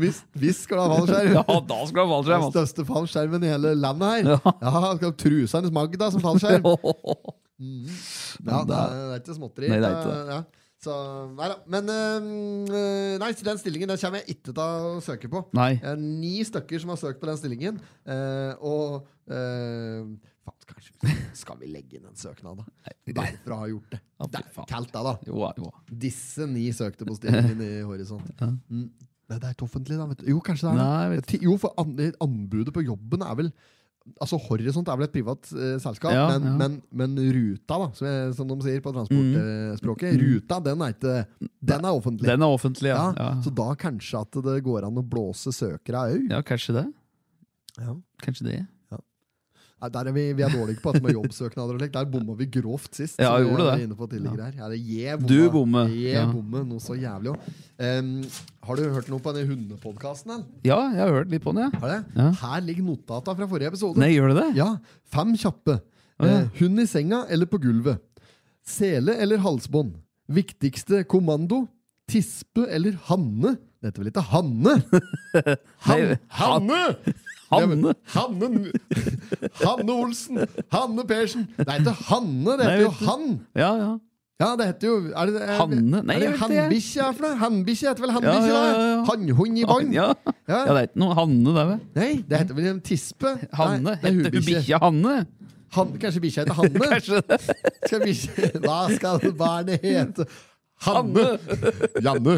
Hvis, hvis skal du ha fallskjerm. Ja, da skal du ha fallskjerm. Den altså. største fallskjermen i hele landet her. Ja, han skal ha Trusernes Magda som fallskjerm. Ja, det er, det er ikke småtteri. Nei, det er ikke det. Ja. Så, nei da. Men øhm, nei, så den stillingen den kommer jeg ikke til å søke på. Nei. Eh, Ni stykker som har søkt på den stillingen. eh, og øh, faen, at kanskje skal vi legge inn en søknad, da? Derfra har jeg gjort det. Ja, fy Der, faen. Kalt deg, da. Jo, jo. Disse ni søkte på stillingen i Horisont. Mm. Nei, det er ikke offentlig, da. Vet du. Jo, kanskje det er Nei, jeg vet det. Ti- Jo, for an anbudet på jobben er vel Altså, Horisont er vel et privat eh, selskap, Ja, men, ja. Men, men Ruta, da, som, jeg, som de sier på transportspråket, Ruta, den er ikke Den er offentlig. Mm. Den er offentlig, ja. ja, Ja, Så da kanskje at det går an å blåse søkere au. ja kanskje det. Ja. Kanskje det. Nei, Der er vi, vi er dårlige på at med jobbsøknader og slikt. Der bomma vi grovt sist. Ja, som vi gjorde var det. Inne på tidligere her. Ja, det, jeg bomma. Du bommer, Jeg ja. bommer noe så jævlig òg. har du hørt noe på den hundepodkasten? Ja, jeg har hørt litt på den, ja. Har det? Ja. Her ligger notata fra forrige episode. Nei, gjør du det? Ja, Fem kjappe. Å, ja. Eh, hund i senga eller på gulvet? Sele eller halsbånd? Viktigste kommando? Tispe eller hanne? Dette er vel ikke hanne? Han, Nei, hanne! Hanne? Hanne Hanne Olsen! Hanne Persen! Det er ikke Hanne, det Nei, heter jo vet du. Han! Ja, ja. Ja, det heter jo er det, er, Hanne? Nei, er det jeg vet ikke. Hannbikkje er for noe? Hannbikkje heter vel Ja, hannbikkje? ja, da? ja, ja. Hannhund i bånd? Ja. ja, det er ikke noe Hanne der, vel? Nei, det heter vel en tispe? Nei, Hanne? det er Heter hun hubikkje. bikkja Hanne? Han, kanskje bikkja heter Hanne? Kanskje det? Skal bikkje, hva skal barnet hete? Hanne! Hanne? Janne!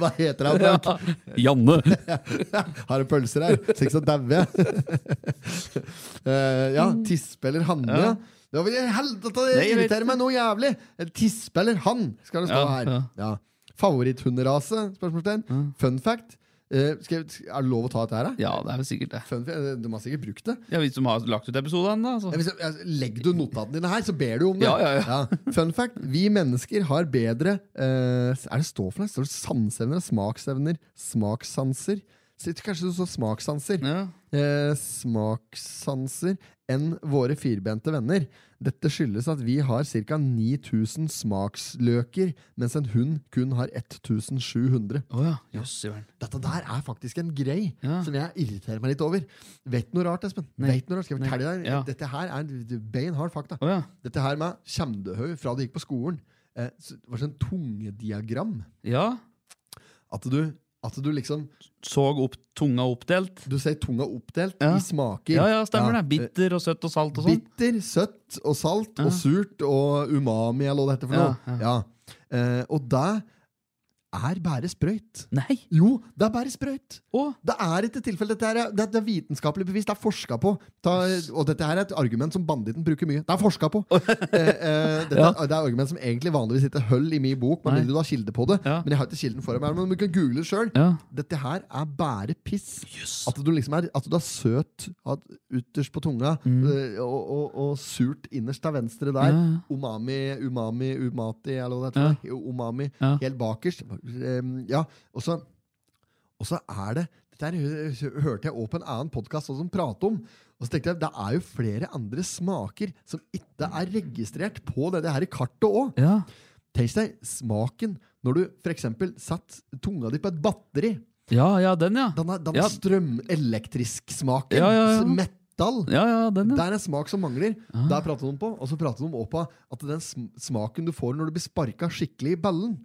Hva heter han? Frank? Ja. Janne. Har du pølser her? Ser ikke så daue jeg. Eh, ja, tispe eller hanne. Ja. Det, var, helvete, det Nei, jeg vet irriterer meg noe jævlig! Eh, Tispe eller han, skal det stå Ja, her. ja. Ja. Favoritthunderase? Spørsmålstegn. Fun fact. Eh, skal jeg, er det lov å ta dette her, da? Ja, det er vel sikkert det. Fun fact, eh, de har sikkert brukt det. Ja, Hvis de har lagt ut episoden, da. Så. Ja, Hvis, altså, legger du notatene dine her, så ber du om det. Ja, ja, ja. Fun fact. Vi mennesker har bedre eh, Er det stå for det? Står det sanseevner? Smaksevner? Smakssanser? Så Kanskje du så smakssanser? Ja. Eh, smakssanser enn våre firbente venner. Dette skyldes at vi har ca. 9000 smaksløker, mens en hund kun har 1700. Å ja. Jøss, Jørn. Dette der er faktisk en grei Ja. som jeg irriterer meg litt over. Vet du noe rart, Espen? Nei. Vet du noe rart? Skal jeg Nei. fortelle deg? Ja. Dette her er beinhard fakta. Å ja. Dette her med kjemdehøy fra du gikk på skolen, eh, så det var sånn tungediagram. Ja. At du, at du liksom Såg opp, tunga oppdelt. Du sier tunga oppdelt Ja. i smaker. Ja, ja, stemmer Ja. Eh, det. Bitter og søtt og salt og sånn. Bitter, søtt og salt Ja. og surt og umami eller hva det heter for noe. Ja, Ja, Eh, og det er bare sprøyt. Nei! Jo, det er bare sprøyt. sånn. Å! Det er ikke tilfelle. Dette er, det, det er vitenskapelig bevisst. Det er forska på. Ta, og dette her er et argument som banditten bruker mye. Det er forska på! eh, eh, dette, Ja. er- Det er argument som egentlig vanligvis ikke holder i min bok, med Nei. mindre du har kilde på det. Ja. Men jeg har ikke kilden foran meg. Men du kan google det sjøl. Ja. Dette her er bare piss. At du liksom er, at du er søt at, ytterst på tunga eh, og, og, og surt innerst til venstre der. Mm. Ja. Umami, umami, umati, eller hva det Ja. heter. for noe. Umami, Ja. helt bakerst. Em, Ja, og så og så er det Dette her hø- hørte jeg også på en annen podkast som pratet om. Og så tenkte jeg, Det er jo flere andre smaker som ikke er registrert på dette her kartet òg. Ja. Tenk deg smaken når du f.eks. setter tunga di på et batteri. ja, ja, den, ja. Denne, denne Ja. strømelektrisk-smaken. Ja, ja, ja. Metall. Ja, Ah. ja, den, Det ja. er en smak som mangler. Der prater de på, og så prater de også på at den sm- smaken du får når du blir sparka skikkelig i ballen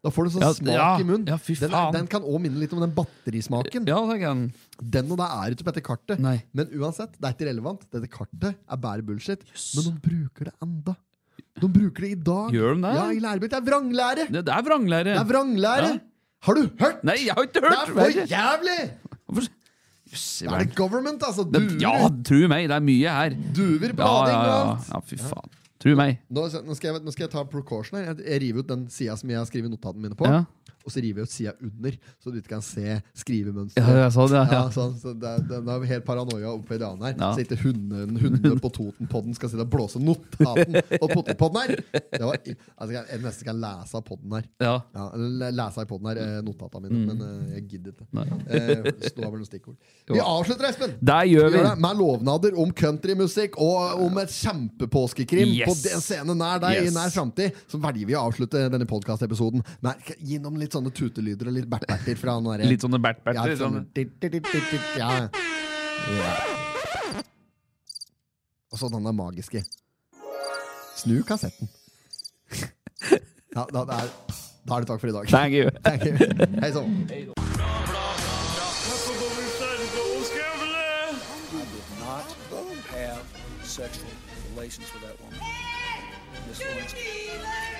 Da får du sånn Ja, smak ja. i munnen. Ja, fy den, faen. er, den kan òg minne litt om den batterismaken. Ja, det kan Den og det er ikke på dette kartet. Nei. Men uansett, det er ikke relevant. Dette kartet er bare bullshit. Men de bruker det enda. De bruker det i dag. Gjør de det? Ja, i lærebøker. Det er vranglære! Det, det er vranglære. Det er vranglære! Ja. Har du hørt?! Nei, jeg har ikke Det hørt! er for jævlig! Hvorfor- Jøss, Det er Jørn. det government, altså. Det, Duver, ja, tru meg, det er mye her. duver på Ja, bading ja, og ja. alt. ja fy faen. Tru meg. Nå, nå, skal jeg, nå skal jeg ta precaution her. Jeg, jeg river ut den sida som jeg har skrevet notatene mine på. Ja. Og så river jeg ut sida under, så du ikke kan se skrivemønsteret. Ja, jeg sa det, ja. Ja, sånn, så det, er- det, det er helt paranoia oppe i det andre her. Ja. Så ikke hunden, hunden på Totenpodden skal sitte og blåse notaten på Totenpodden her! Det var, altså, jeg, jeg nesten kan lese av podden her. Ja. Ja, eller lese i podden her, eh, notata mine, men eh, jeg gidder ikke. Mm. Nei. Eh, så det var vel noen stikkord. Vi avslutter, Espen! Der gjør vi. Gjør det, med lovnader om countrymusikk og om et kjempepåskekrim Yes. på den scenen nær deg Yes. i nær framtid, så velger vi å avslutte denne podkastepisoden med gi noen litt sånne tutelyder og litt berterter fra han derre Litt sånne ja, bert-berter. sånn, Sånn. ja. ja. Og så denne magiske. Snu kassetten. Ja, da, da, er, da er det takk for i dag. Thank you. Thank you. Hei så. I did not have sexual sexual relations with that woman. Miss Lewinsky.